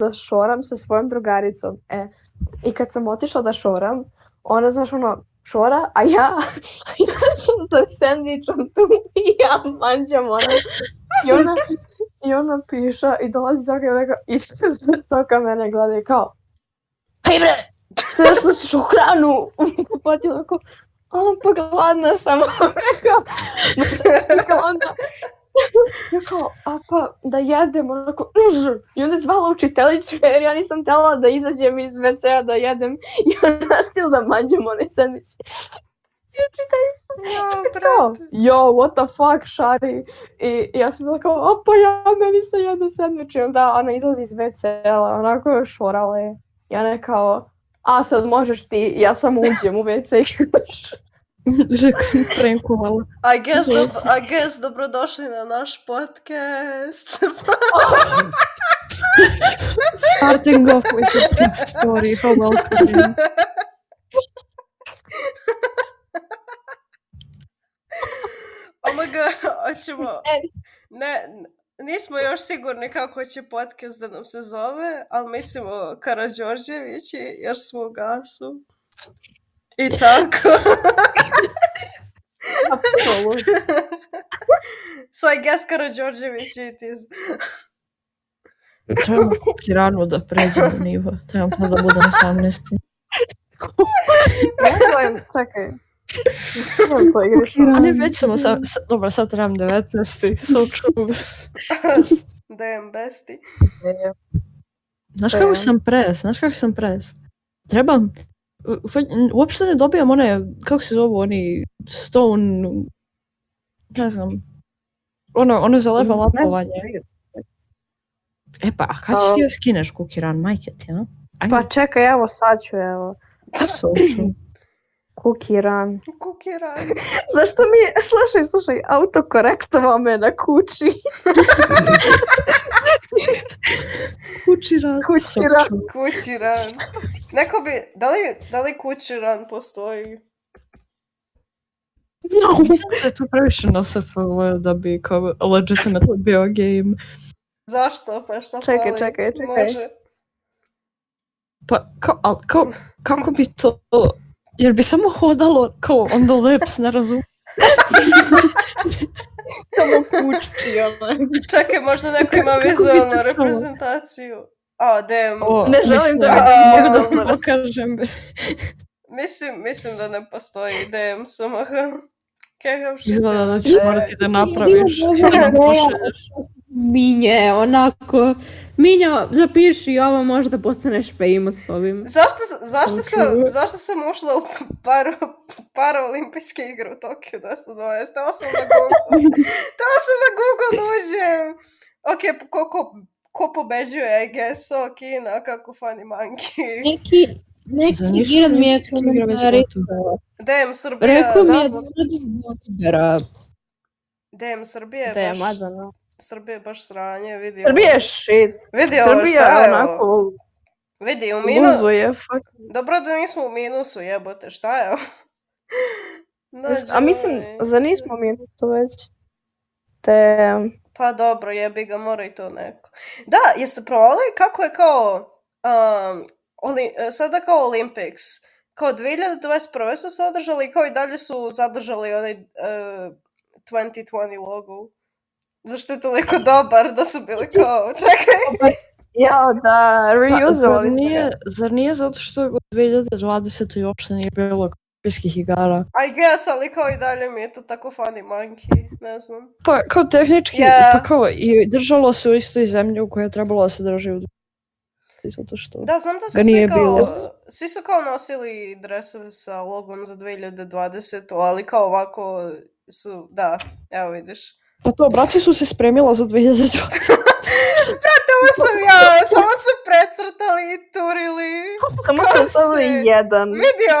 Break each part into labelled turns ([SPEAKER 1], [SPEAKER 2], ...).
[SPEAKER 1] sa Šoram, sa svojom drugaricom. E, I kad sam otišla da šoram, ona, znaš, ono, šora, a ja, a ja sam sa sendvičom tu i ja manđam ona. I ona, i ona piša i dolazi Zoka i ona ište to ka mene gleda i kao, hej bre, što još nosiš u hranu? Kupati onako, a pa gladna sam. Rekao, "Ma, kao onda, ja kao, a pa da jedem, onako, "Užr." i onda je zvala učiteljicu jer ja nisam htjela da izađem iz WC-a da jedem i ona stil da mađem one sandvič. I učiteljica
[SPEAKER 2] Ja,
[SPEAKER 1] kao,
[SPEAKER 2] brate.
[SPEAKER 1] yo, what the fuck, šari. I, i ja sam bila kao, a pa ja, meni se jedno sandvič. I onda ona izlazi iz WC-a, onako šorala je. I ona je kao, a sad možeš ti, I ja sam uđem u WC i
[SPEAKER 3] Žek sam prankovala.
[SPEAKER 2] I guess, dobro, I guess dobrodošli na naš podcast.
[SPEAKER 3] Starting off with a pitch story, how welcoming.
[SPEAKER 2] Omaga, hoćemo...
[SPEAKER 1] E.
[SPEAKER 2] Ne, nismo još sigurni kako će podcast da nam se zove, ali mislimo Karađorđevići jer smo u gasu. I tako.
[SPEAKER 1] apsolutno.
[SPEAKER 2] So I guess Karađorđevići it is.
[SPEAKER 3] Trebamo rano da pređemo nivo. Trebamo da budem 18.
[SPEAKER 1] Moram, čekaj. Moram to igrati.
[SPEAKER 3] A ne, već sam sa, sa, dobro, sad trebam 19. So true.
[SPEAKER 2] Damn besti.
[SPEAKER 3] Znaš kako sam pres, znaš kako sam pres. Trebam, fa- uopšte ne dobijam one, kako se zovu oni, stone, ne znam, ono, ono za level upovanje. E pa, a kad ćeš ti joj skineš kukiran, majke ti, a? Ajme,
[SPEAKER 1] Pa čekaj, evo sad ću, evo.
[SPEAKER 3] so true.
[SPEAKER 1] Cookie run.
[SPEAKER 2] Kuki raj.
[SPEAKER 1] Zašto mi je, slušaj, slušaj, autokorektovao me na kući.
[SPEAKER 3] Kućiran, so
[SPEAKER 1] Kućiran.
[SPEAKER 3] true.
[SPEAKER 2] Kući ran. Neko bi... Da li, da li kući ran postoji?
[SPEAKER 1] No.
[SPEAKER 3] Pa Mislim da je to previše na SFL da bi kao legitimately bio game.
[SPEAKER 2] Zašto? Pa šta
[SPEAKER 1] Čekaj,
[SPEAKER 2] fali?
[SPEAKER 1] čekaj, čekaj.
[SPEAKER 2] Može.
[SPEAKER 3] Pa kao, al, kao, kako bi to, jer bi samo hodalo kao on the lips, ne razum.
[SPEAKER 1] Samo kući, ono.
[SPEAKER 2] Čekaj, možda neko ima
[SPEAKER 3] Kako bi to
[SPEAKER 2] vizualnu
[SPEAKER 3] to?
[SPEAKER 2] reprezentaciju. A, damn.
[SPEAKER 3] O,
[SPEAKER 1] Ne želim
[SPEAKER 3] mislim,
[SPEAKER 1] da
[SPEAKER 2] mi
[SPEAKER 3] mogu
[SPEAKER 2] to
[SPEAKER 3] da
[SPEAKER 1] govore.
[SPEAKER 3] vam pokažem.
[SPEAKER 2] Mislim, mislim da ne postoji damn sam. aha. Kakav shit.
[SPEAKER 3] Izgleda da ćeš
[SPEAKER 1] E,
[SPEAKER 3] morati da napraviš. i da nam pošalješ.
[SPEAKER 4] Minje, onako. Minja, zapiši ovo, možda postaneš famous ovim.
[SPEAKER 2] Zašto, s- zašto, sam,
[SPEAKER 3] Ok.
[SPEAKER 2] zašto sam ušla u paro, paraolimpijske igre u Tokiju 220? Htjela sam na Google. Htjela sam na Google da uđem. Ok, ko, ko, ko pobeđuje, I guess, so, Kina, kako funny monkey.
[SPEAKER 4] Neki, neki
[SPEAKER 3] Zamisli
[SPEAKER 4] Giran mi je
[SPEAKER 3] neki igra već
[SPEAKER 4] komentari.
[SPEAKER 3] gotova.
[SPEAKER 2] Damn, Srbija.
[SPEAKER 4] Rekao mi je da
[SPEAKER 1] da.
[SPEAKER 4] radim blogera.
[SPEAKER 2] Damn, Srbija je
[SPEAKER 1] Da,
[SPEAKER 2] baš,
[SPEAKER 1] madana.
[SPEAKER 2] Srbija je baš sranje, vidi. ovo.
[SPEAKER 1] Srbija je shit.
[SPEAKER 2] Vidi ovo
[SPEAKER 1] Srbija
[SPEAKER 2] šta
[SPEAKER 1] je
[SPEAKER 2] je ovo.
[SPEAKER 1] onako
[SPEAKER 2] Vidi, u minusu.
[SPEAKER 1] guzuje. fuck.
[SPEAKER 2] Dobro da nismo u minusu, jebote, šta je ovo? Nađi
[SPEAKER 1] A mislim,
[SPEAKER 2] ovaj.
[SPEAKER 1] za nismo mi to već. Te...
[SPEAKER 2] Pa dobro, jebi ga, mora i to neko. Da, jeste provali kako je kao, um, oli- e, sada kao Olympics, kao 2021. su se održali, kao i dalje su zadržali onaj uh, 2020 logo. Zašto je toliko dobar da su bili kao, čekaj,
[SPEAKER 1] Ja, da,
[SPEAKER 3] Pa, zar,
[SPEAKER 1] reusovali smo ga.
[SPEAKER 3] nije, zar nije zato što je u 2020. uopšte nije bilo olimpijskih igara?
[SPEAKER 2] I guess, ali kao i dalje mi je to tako funny monkey, ne znam.
[SPEAKER 3] Pa kao tehnički,
[SPEAKER 2] Ja.
[SPEAKER 3] pa kao i držalo se u istoj zemlji u kojoj je trebalo da se drži u zato što...
[SPEAKER 2] Da, znam da su
[SPEAKER 3] Ga
[SPEAKER 2] svi
[SPEAKER 3] nije
[SPEAKER 2] kao,
[SPEAKER 3] bilo.
[SPEAKER 2] svi su kao nosili dresove sa logom za 2020, ali kao ovako su, da, evo vidiš.
[SPEAKER 3] Pa to, braći su se spremila za 2020.
[SPEAKER 2] Ovo sam ja, samo su precrtali i turili.
[SPEAKER 1] Samo
[SPEAKER 2] Kao
[SPEAKER 1] sam stavili
[SPEAKER 2] se-
[SPEAKER 1] jedan.
[SPEAKER 2] Vidio,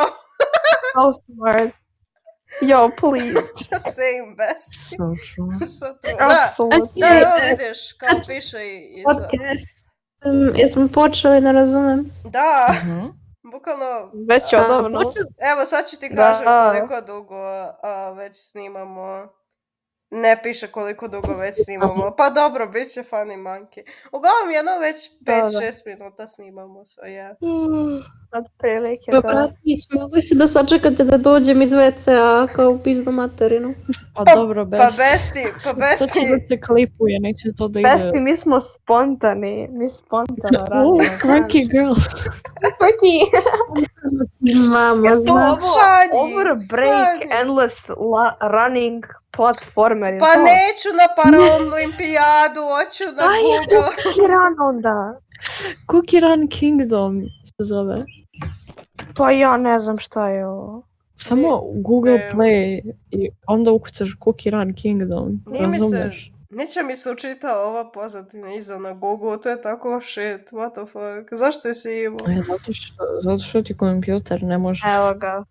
[SPEAKER 1] How smart. Yo, please.
[SPEAKER 2] same best.
[SPEAKER 3] So true.
[SPEAKER 2] Sa tu- Da,
[SPEAKER 1] Apsolutno.
[SPEAKER 2] da, evo vidiš, kao piše i... i sa-
[SPEAKER 4] e, Podcast. Mm, Jesmo počeli, ne razumem.
[SPEAKER 2] Da,
[SPEAKER 3] Mhm.
[SPEAKER 2] bukvalno,
[SPEAKER 1] Već
[SPEAKER 4] A,
[SPEAKER 1] odavno.
[SPEAKER 4] počeli-
[SPEAKER 2] evo sad ću ti
[SPEAKER 1] Da.
[SPEAKER 2] kažem koliko dugo a, već snimamo Ne piše koliko dugo već snimamo. Pa dobro, bit će funny monkey. Uglavnom, jedno već 5-6 minuta snimamo. So, yeah.
[SPEAKER 1] Od prilike,
[SPEAKER 4] Pa,
[SPEAKER 1] da.
[SPEAKER 4] bratić, mogli si da sačekate da dođem iz WC-a kao u pizdu materinu.
[SPEAKER 3] Pa dobro, best.
[SPEAKER 2] Pa besti, pa
[SPEAKER 3] To će
[SPEAKER 2] besti,
[SPEAKER 3] da se klipuje, neće to da ide...
[SPEAKER 1] Besti, mi smo spontani. Mi spontano radimo.
[SPEAKER 3] Oh, quirky girls.
[SPEAKER 1] Quirky.
[SPEAKER 4] Mama,
[SPEAKER 1] To
[SPEAKER 4] zna.
[SPEAKER 1] ovo,
[SPEAKER 2] Funny,
[SPEAKER 1] over break,
[SPEAKER 2] funny.
[SPEAKER 1] endless la- running platformer. je
[SPEAKER 2] pa
[SPEAKER 1] to?
[SPEAKER 2] neću na paraolimpijadu, hoću na
[SPEAKER 1] Aj,
[SPEAKER 2] Google.
[SPEAKER 1] Kiran onda.
[SPEAKER 3] Cookie Run Kingdom se zove.
[SPEAKER 1] Pa ja ne znam šta je ovo.
[SPEAKER 3] Samo Google
[SPEAKER 2] Evo.
[SPEAKER 3] Play i onda ukucaš Cookie Run Kingdom.
[SPEAKER 2] Nije mi se-
[SPEAKER 3] razumeš?
[SPEAKER 2] Neće mi se učita ova pozadina iza na Google, to je tako shit, what the fuck. Zašto je si imao?
[SPEAKER 3] E, zato, što, zato što ti kompjuter ne može...
[SPEAKER 1] Evo ga.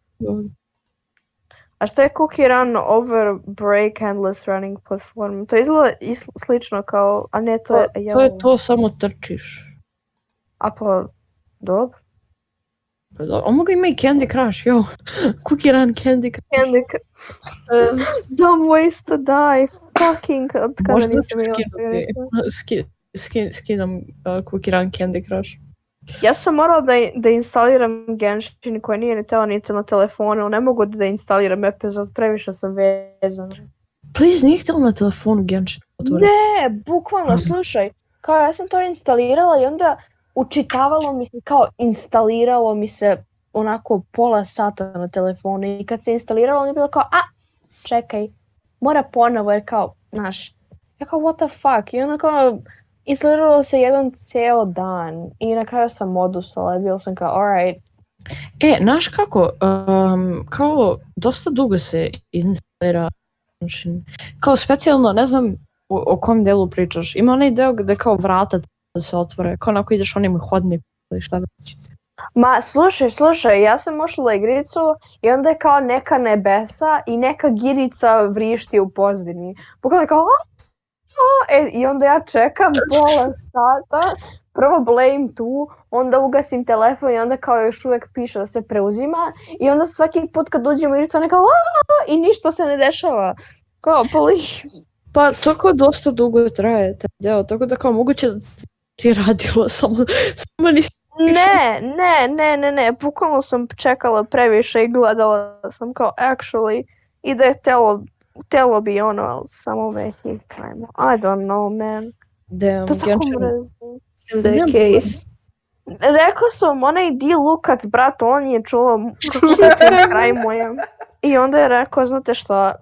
[SPEAKER 1] A šta je Cookie Run over break endless running platform? To izgleda is- slično kao, a ne to je... ja,
[SPEAKER 3] To je to, samo trčiš.
[SPEAKER 1] A pa, dobro.
[SPEAKER 3] Pa dobro, a mogu ima i Candy Crush, jo. Cookie Run Candy Crush.
[SPEAKER 1] Candy c- Dumb ways to die, fucking, od kada
[SPEAKER 3] Možda ću
[SPEAKER 1] nisam imala
[SPEAKER 3] skinuti.
[SPEAKER 1] priliku.
[SPEAKER 3] Ski, ski, skidam uh, Cookie Run Candy Crush.
[SPEAKER 1] Ja sam morala da, da instaliram Genshin koji nije ni teo niti na telefonu, ne mogu da instaliram epizod, previše sam vezana.
[SPEAKER 3] Please, nije htjela na telefonu Genshin otvori.
[SPEAKER 1] Ne, E, bukvalno,
[SPEAKER 3] Mhm.
[SPEAKER 1] slušaj, kao ja sam to instalirala i onda učitavalo mi se, kao instaliralo mi se onako pola sata na telefonu i kad se instaliralo onda je bilo kao, a, čekaj, mora ponovo jer kao, znaš, ja kao, what the fuck, i onda kao, instaliralo se jedan ceo dan i na kraju sam odustala i bila sam kao, alright,
[SPEAKER 3] E, znaš kako, um, kao dosta dugo se instalira Genshin. Kao specijalno, ne znam o, o kom delu pričaš. Ima onaj deo gde kao vrata da se otvore, kao onako ideš onim hodnikom ili šta već.
[SPEAKER 1] Ma, slušaj, slušaj, ja sam ušla igricu i onda je kao neka nebesa i neka girica vrišti u pozdini. Pogledaj kao, a, a, e, i onda ja čekam pola sata, prvo blame tu, onda ugasim telefon i onda kao još uvijek piše da se preuzima i onda svaki put kad uđem u igricu ona je kao, a, a, i ništa se ne dešava. Kao, please.
[SPEAKER 3] Pa tako dosta dugo traje taj deo, tako da kao moguće da ti je radilo samo, samo nisi
[SPEAKER 1] Ne, ne, ne, ne, ne, bukvalno sam čekala previše i gledala sam kao actually i da je telo, telo bi ono, ali samo veki, ajmo, I don't know, man.
[SPEAKER 3] Damn,
[SPEAKER 1] To tako
[SPEAKER 3] Genshin.
[SPEAKER 1] mrzim.
[SPEAKER 4] Mislim da je case.
[SPEAKER 1] Rekla sam, onaj Di Lukac, brat, on je čuo šta kraj moje. I onda je rekao, znate šta,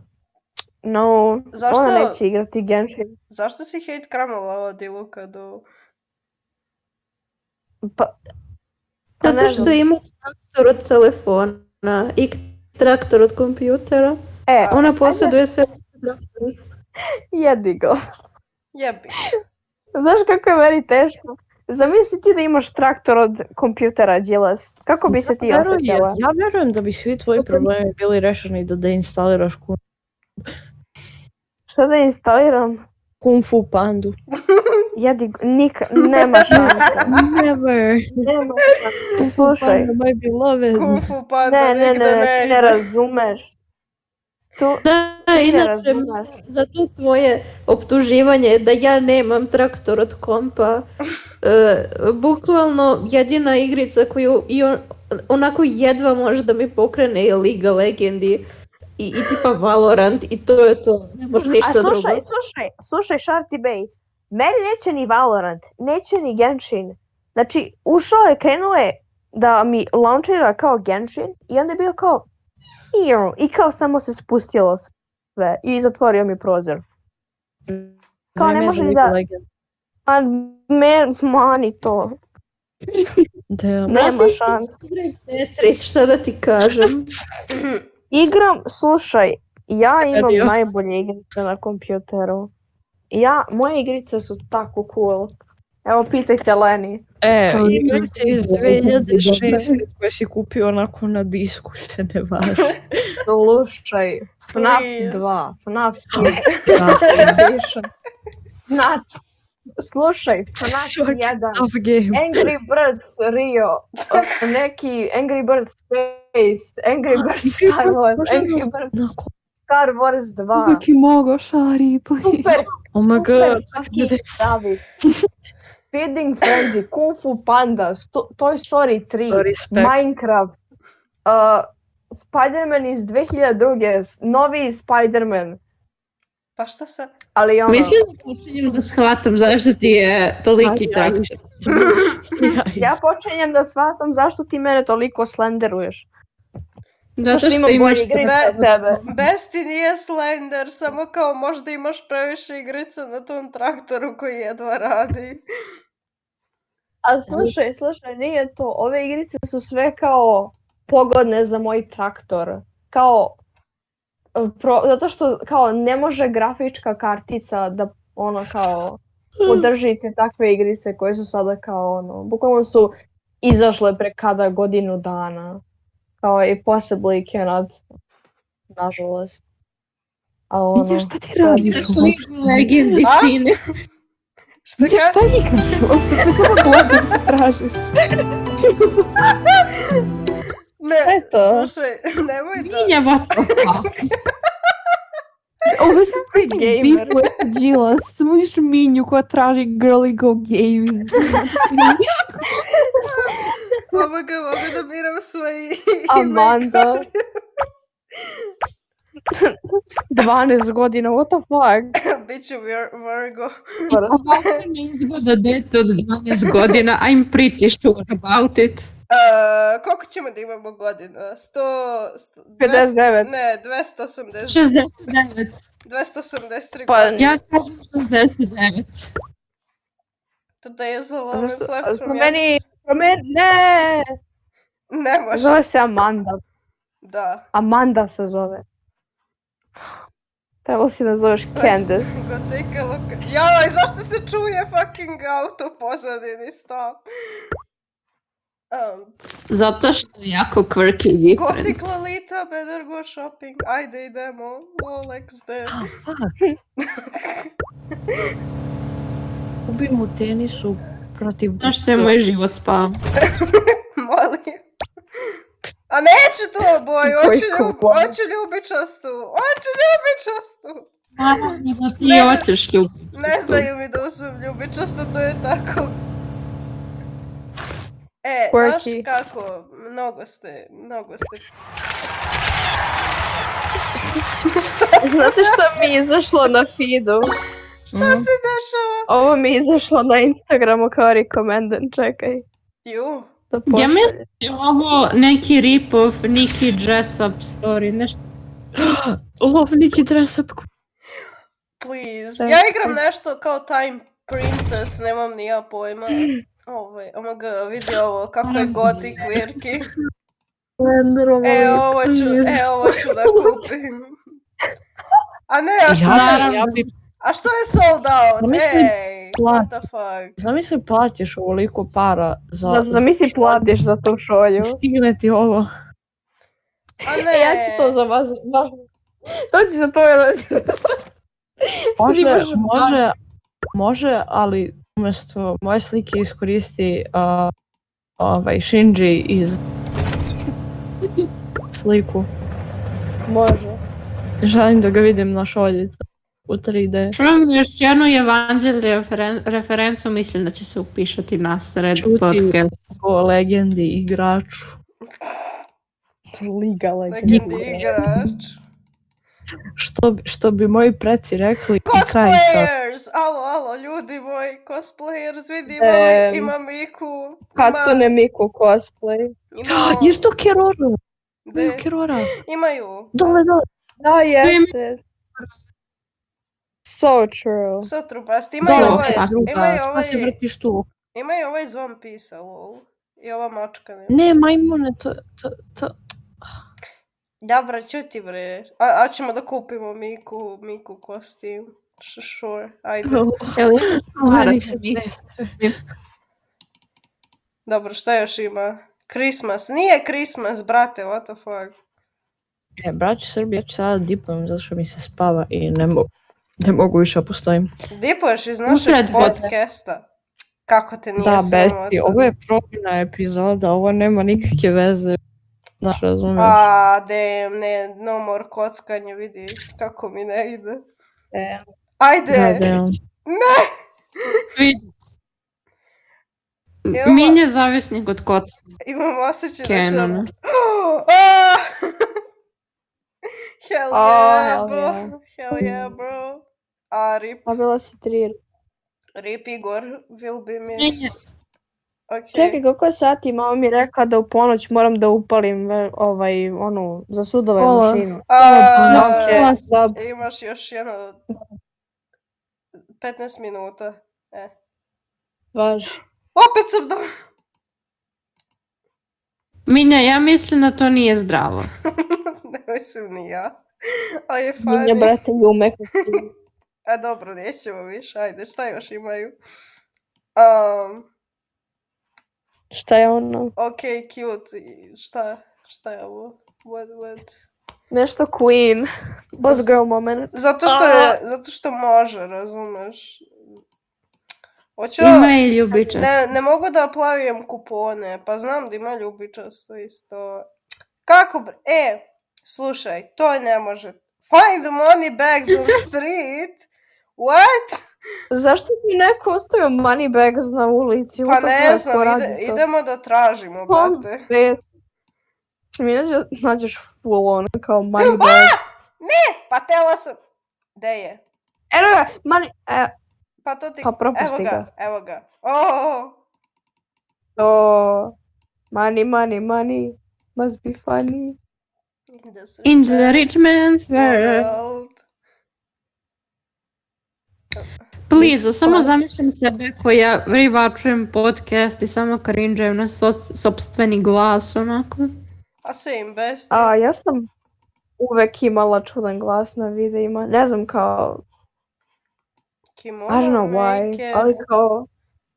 [SPEAKER 1] no,
[SPEAKER 2] Zašto?
[SPEAKER 1] ona neće igrati Genshin.
[SPEAKER 2] Zašto si hate kramala Diluka do...
[SPEAKER 1] Pa, pa ne
[SPEAKER 4] Zato što
[SPEAKER 1] znam.
[SPEAKER 4] ima traktor od telefona i traktor od kompjutera.
[SPEAKER 1] E,
[SPEAKER 4] Ona posjeduje sve traktore.
[SPEAKER 1] jedi ga.
[SPEAKER 2] Jebi.
[SPEAKER 1] Znaš kako je meni teško? Zamisli ti da imaš traktor od kompjutera, Đilas. Kako bi se ti
[SPEAKER 3] Ja verujem-
[SPEAKER 1] osjećala?
[SPEAKER 3] Ja verujem da bi svi tvoji problemi bili rešeni da deinstaliraš Kung,
[SPEAKER 1] Šta da instaliram?
[SPEAKER 3] kung Fu Pandu.
[SPEAKER 1] Jedi, g- nik, nema šanse.
[SPEAKER 3] Never.
[SPEAKER 1] Nema šanse. Slušaj,
[SPEAKER 3] Panda, my beloved.
[SPEAKER 2] Kung Fu Panda
[SPEAKER 1] ne, ne, ne,
[SPEAKER 2] nigde
[SPEAKER 1] ne, ti
[SPEAKER 2] ide.
[SPEAKER 1] ne razumeš. Tu,
[SPEAKER 4] Da,
[SPEAKER 1] Ti ne
[SPEAKER 4] inače,
[SPEAKER 1] razumeš.
[SPEAKER 4] zato tvoje optuživanje da ja nemam traktor od kompa, e, bukvalno jedina igrica koju i on, onako jedva može da mi pokrene je Liga Legendi i, i tipa Valorant i to je to, ne može
[SPEAKER 1] a
[SPEAKER 4] ništa drugo.
[SPEAKER 1] slušaj, slušaj, slušaj, Sharty Bay. Meni neće ni Valorant, neće ni Genshin. Znači, ušao je, krenuo je da mi launchira kao Genshin i onda je bio kao "Iu", i kao samo se spustilo sve i zatvorio mi prozor. Kao ne
[SPEAKER 3] Vreme je
[SPEAKER 1] može
[SPEAKER 3] za
[SPEAKER 1] ni
[SPEAKER 3] League
[SPEAKER 1] da-
[SPEAKER 3] Legend.
[SPEAKER 1] A me, mani to.
[SPEAKER 3] Damn.
[SPEAKER 1] nema
[SPEAKER 4] Brate,
[SPEAKER 1] šanse.
[SPEAKER 4] igraj Tetris, šta da ti kažem.
[SPEAKER 1] Igram, slušaj, ja imam
[SPEAKER 3] Radio.
[SPEAKER 1] najbolje igrice na kompjuteru. Ja, moje igrice su tako cool. Evo, pitajte Leni.
[SPEAKER 3] E,
[SPEAKER 4] To je
[SPEAKER 3] igrice iz
[SPEAKER 4] to je
[SPEAKER 3] 2006 koje si kupio onako na disku se ne važi.
[SPEAKER 1] Slušaj, FNAF
[SPEAKER 2] Please.
[SPEAKER 1] 2, FNAF 3, Edition. FNAF, slušaj, FNAF
[SPEAKER 3] Svaki
[SPEAKER 1] 1,
[SPEAKER 3] Off game.
[SPEAKER 1] Angry Birds Rio, neki Angry Birds Space, Angry Birds
[SPEAKER 3] Angry Birds,
[SPEAKER 1] Star Wars,
[SPEAKER 3] možda
[SPEAKER 1] Angry Birds
[SPEAKER 3] Na ko-
[SPEAKER 1] Star Wars 2.
[SPEAKER 5] Uvijek i mogo, šari, pa. please.
[SPEAKER 1] Super,
[SPEAKER 3] Oh my
[SPEAKER 1] super
[SPEAKER 3] god,
[SPEAKER 1] fucking
[SPEAKER 3] gdje
[SPEAKER 1] David. Feeding Frenzy, Kung Fu Panda, Sto- Toy Story 3,
[SPEAKER 3] Respekt.
[SPEAKER 1] Minecraft, uh, Spider-Man iz 2002, s- novi Spider-Man,
[SPEAKER 2] Pa šta sad?
[SPEAKER 1] ali ono...
[SPEAKER 4] Mislim da počinjem da shvatam zašto ti je toliki
[SPEAKER 3] Aj, aj.
[SPEAKER 4] traktor.
[SPEAKER 1] Ja počinjem da shvatam zašto ti mene toliko slenderuješ.
[SPEAKER 4] Zato što
[SPEAKER 1] imam bolje
[SPEAKER 4] imaš
[SPEAKER 1] igrice
[SPEAKER 2] tebe.
[SPEAKER 1] od tebe.
[SPEAKER 2] Besti nije е slender, samo kao možda imaš previše igrica na tom traktoru koji jedva radi.
[SPEAKER 1] A slušaj, slušaj, nije to. Ove igrice su sve kao pogodne za moj traktor. Kao, e, pro- zato što kao ne može grafička kartica da ono kao podrži te takve igrice koje su sada kao ono, bukvalno su izašle pre kada godinu dana. Kao i possibly cannot, nažalost. A ono,
[SPEAKER 5] Vidiš šta ti radiš uopšte?
[SPEAKER 4] legendi
[SPEAKER 2] A?
[SPEAKER 4] sine.
[SPEAKER 2] Šta
[SPEAKER 5] Vidiš
[SPEAKER 2] ka-
[SPEAKER 5] šta njikaš uopšte? Sve samo gledam, tražiš.
[SPEAKER 4] Šta
[SPEAKER 2] Ne,
[SPEAKER 4] je to?
[SPEAKER 2] slušaj, nemoj da...
[SPEAKER 4] Minja, what the fuck?
[SPEAKER 5] Ovo je
[SPEAKER 1] big
[SPEAKER 5] Beef
[SPEAKER 1] gamer.
[SPEAKER 5] with Jilas, samo vidiš minju koja traži girly go games.
[SPEAKER 2] Ovoga, mogu da biram svoje ime.
[SPEAKER 1] Amanda. 12 godina, what the fuck?
[SPEAKER 2] Biću Vir- Virgo.
[SPEAKER 4] Ovako mi izgleda dete od 12 godina, I'm pretty sure about it.
[SPEAKER 2] Uh, koliko ćemo da imamo godina? 100... 100
[SPEAKER 1] 59.
[SPEAKER 2] ne, 280,
[SPEAKER 4] 69.
[SPEAKER 2] 283
[SPEAKER 1] Pa-
[SPEAKER 2] godine.
[SPEAKER 4] Ja kažem 69.
[SPEAKER 2] Today is the
[SPEAKER 1] Zato
[SPEAKER 2] longest
[SPEAKER 1] što-
[SPEAKER 2] left
[SPEAKER 1] po
[SPEAKER 2] from yes.
[SPEAKER 1] meni, po meni, ne,
[SPEAKER 2] Ne može.
[SPEAKER 1] zove se Amanda.
[SPEAKER 2] Da.
[SPEAKER 1] Amanda se zove. Trebalo si da zoveš
[SPEAKER 2] Pa
[SPEAKER 1] Candice.
[SPEAKER 2] Go take a look. Joj, zašto se čuje fucking auto u pozadini? Stop. Um,
[SPEAKER 4] Zato što je jako quirky i different.
[SPEAKER 2] Gothic Lolita, better go shopping. Ajde, idemo. Lolex, de.
[SPEAKER 3] Gubim u tenisu protiv...
[SPEAKER 4] Znaš što je moj život spao?
[SPEAKER 2] Molim. A neću to, boj,
[SPEAKER 1] Koji
[SPEAKER 2] hoću, ljub,
[SPEAKER 1] kupon?
[SPEAKER 2] hoću ljubičastu, hoću ljubičastu.
[SPEAKER 4] Naravno da ti
[SPEAKER 2] Ne.
[SPEAKER 4] hoćeš ljubiti.
[SPEAKER 2] Ne znaju mi da sam ljubičasta, to je tako. E, znaš
[SPEAKER 1] Quirky.
[SPEAKER 2] kako, mnogo ste, mnogo ste. šta,
[SPEAKER 1] Znate šta mi je izašlo na feedu?
[SPEAKER 2] šta
[SPEAKER 3] Mhm.
[SPEAKER 2] se dešava?
[SPEAKER 1] Ovo mi je izašlo na Instagramu kao recommended, čekaj.
[SPEAKER 2] Ju,
[SPEAKER 1] Da
[SPEAKER 4] Ja
[SPEAKER 1] pošaljem.
[SPEAKER 4] mislim da je ovo neki rip-off, neki dress-up story, nešto.
[SPEAKER 3] Lov, Niki Dresap.
[SPEAKER 1] Da.
[SPEAKER 2] please. Ja igram nešto kao Time Princess, nemam ni ja pojma. Ovaj, omg, vidi ovo, kako je gotik virki. E, ovo ću, e, ovo ću da kupim. A ne, a što,
[SPEAKER 3] Ja-
[SPEAKER 4] Naravno,
[SPEAKER 2] a što je sold out?
[SPEAKER 3] Zamisli
[SPEAKER 2] Ej, what the fuck?
[SPEAKER 3] Zamisli platiš ovoliko para za...
[SPEAKER 1] Da, Pa zamisli platiš za tu šolju.
[SPEAKER 3] I Stigne ti ovo.
[SPEAKER 2] A
[SPEAKER 1] E,
[SPEAKER 2] ne,
[SPEAKER 1] ja ću to za vas, vas. To ću za tvoj rođendan.
[SPEAKER 3] Može,
[SPEAKER 1] Primaš
[SPEAKER 3] može, može, ali umjesto moje slike iskoristi uh, ovaj Shinji iz sliku.
[SPEAKER 1] Može.
[SPEAKER 3] Želim da ga vidim na šoljicu u 3D.
[SPEAKER 4] Čujem još jednu evanđelje referen- referencu, mislim da će se upišati na sred
[SPEAKER 3] Čuti.
[SPEAKER 4] podcast.
[SPEAKER 3] O legendi igraču.
[SPEAKER 1] Liga, liga.
[SPEAKER 2] legendi igrač.
[SPEAKER 3] Što, bi- što bi moji preci rekli i kaj sad.
[SPEAKER 2] Cosplayers! Alo, alo, ljudi moji, cosplayers, vidi, ima,
[SPEAKER 1] Em,
[SPEAKER 2] mi, ima Miku.
[SPEAKER 1] Hatsune Miku cosplay.
[SPEAKER 2] Ima,
[SPEAKER 3] Ah,
[SPEAKER 2] ima,
[SPEAKER 3] Jer to Kerora!
[SPEAKER 2] de,
[SPEAKER 3] Kerora!
[SPEAKER 2] imaju.
[SPEAKER 3] Dole, dole!
[SPEAKER 1] Da, jeste. So true.
[SPEAKER 2] So trubast, imaju
[SPEAKER 3] Dole,
[SPEAKER 2] ovaj,
[SPEAKER 4] pa,
[SPEAKER 2] imaju
[SPEAKER 3] druga. Šta se
[SPEAKER 2] ovaj,
[SPEAKER 3] vrtiš tu?
[SPEAKER 2] imaju ovaj iz One Piece-a, lol. I ova mačka ne.
[SPEAKER 3] Ne, majmune, to, to, to...
[SPEAKER 2] Dobra, ćuti bre. A, a ćemo da kupimo Miku, Miku kostim. Š- Sure, ajde.
[SPEAKER 4] Jel ima para
[SPEAKER 3] Meni
[SPEAKER 4] za
[SPEAKER 3] se
[SPEAKER 4] mi?
[SPEAKER 3] trese.
[SPEAKER 2] Dobro, šta još ima? Christmas. Nije Christmas, brate, what the fuck.
[SPEAKER 3] E, braću Srbi, ja ću sada dipujem zato što mi se spava i ne mogu, ne mogu više da postojim.
[SPEAKER 2] Dipuješ iz našeg
[SPEAKER 4] Usred podne.
[SPEAKER 2] podcasta. Kako te nije
[SPEAKER 3] Da,
[SPEAKER 2] sramota?
[SPEAKER 3] besti, ovo je probina epizoda, ovo nema nikakve veze. Znaš, razumiješ?
[SPEAKER 2] A, de, ne, no more kockanje, vidi, kako mi ne ide.
[SPEAKER 1] E,
[SPEAKER 2] Ajde,
[SPEAKER 3] Da, da, ja.
[SPEAKER 6] Vidi,
[SPEAKER 2] Imamo,
[SPEAKER 6] Min je zavisnik od kocka
[SPEAKER 2] imam osjećaj da ću...
[SPEAKER 6] Kenana.
[SPEAKER 2] Ah! hell
[SPEAKER 1] Oh,
[SPEAKER 2] yeah,
[SPEAKER 1] hell
[SPEAKER 2] bro.
[SPEAKER 1] yeah.
[SPEAKER 2] Hell yeah, bro. A rip,
[SPEAKER 1] dobila si tri.
[SPEAKER 2] rip Igor will be
[SPEAKER 6] ne.
[SPEAKER 2] missed.
[SPEAKER 1] Čekaj,
[SPEAKER 2] Ok.
[SPEAKER 1] koliko je sati? Mama mi je rekla da u ponoć moram da upalim e, ovaj, onu, za sudove
[SPEAKER 5] Pola.
[SPEAKER 1] mašinu.
[SPEAKER 2] A,
[SPEAKER 1] Ok.
[SPEAKER 5] Pola
[SPEAKER 2] Imaš još jedno 15 minuta.
[SPEAKER 1] Važi.
[SPEAKER 2] Opet sam do...
[SPEAKER 6] Minja, ja mislim da to nije zdravo.
[SPEAKER 2] ne mislim ni ja. Ali je
[SPEAKER 1] Minja,
[SPEAKER 2] fani.
[SPEAKER 1] brate, ljume.
[SPEAKER 2] A dobro, nećemo više. Ajde, šta još imaju? Um,
[SPEAKER 1] Šta je ono?
[SPEAKER 2] ok, cute. I Šta? Šta je ovo? What, what?
[SPEAKER 1] Nešto queen. Boss girl moment.
[SPEAKER 2] Zato što, je, zato što može, razumeš? Hoću...
[SPEAKER 6] Ima i ljubičast.
[SPEAKER 2] Ne, ne mogu da plavijem kupone, pa znam da ima ljubičasto isto. Kako bre? E, slušaj, to ne može. Find the money bags on street? What?
[SPEAKER 1] Zašto mi neko ostavio money bags na ulici?
[SPEAKER 2] Pa
[SPEAKER 1] What the
[SPEAKER 2] ne
[SPEAKER 1] fuck, ko
[SPEAKER 2] znam,
[SPEAKER 1] radi
[SPEAKER 2] ide,
[SPEAKER 1] to?
[SPEAKER 2] idemo da tražimo,
[SPEAKER 1] Pa,
[SPEAKER 2] brate.
[SPEAKER 1] Pet. Mi nađe, nađeš full on kao
[SPEAKER 2] Ah!
[SPEAKER 1] money bag.
[SPEAKER 2] Pa tela sam... Gde je?
[SPEAKER 1] Eno ga, money... E,
[SPEAKER 2] Pa to ti...
[SPEAKER 1] pa
[SPEAKER 2] evo
[SPEAKER 1] propusti
[SPEAKER 2] ga,
[SPEAKER 1] ga.
[SPEAKER 2] evo ga. Oh,
[SPEAKER 1] To... oh. Money, money, money. Must be funny.
[SPEAKER 2] in the
[SPEAKER 6] In the rich man's world.
[SPEAKER 2] world.
[SPEAKER 6] Please, samo zamišljam sebe koja rivačujem podcast i samo cringe-ujem na so- sobstveni glas, onako.
[SPEAKER 2] A same best.
[SPEAKER 1] A ja sam uvek imala čudan glas na videima. Ne znam kao... I
[SPEAKER 2] Kimono
[SPEAKER 1] don't know why.
[SPEAKER 2] maker.
[SPEAKER 1] Ali kao...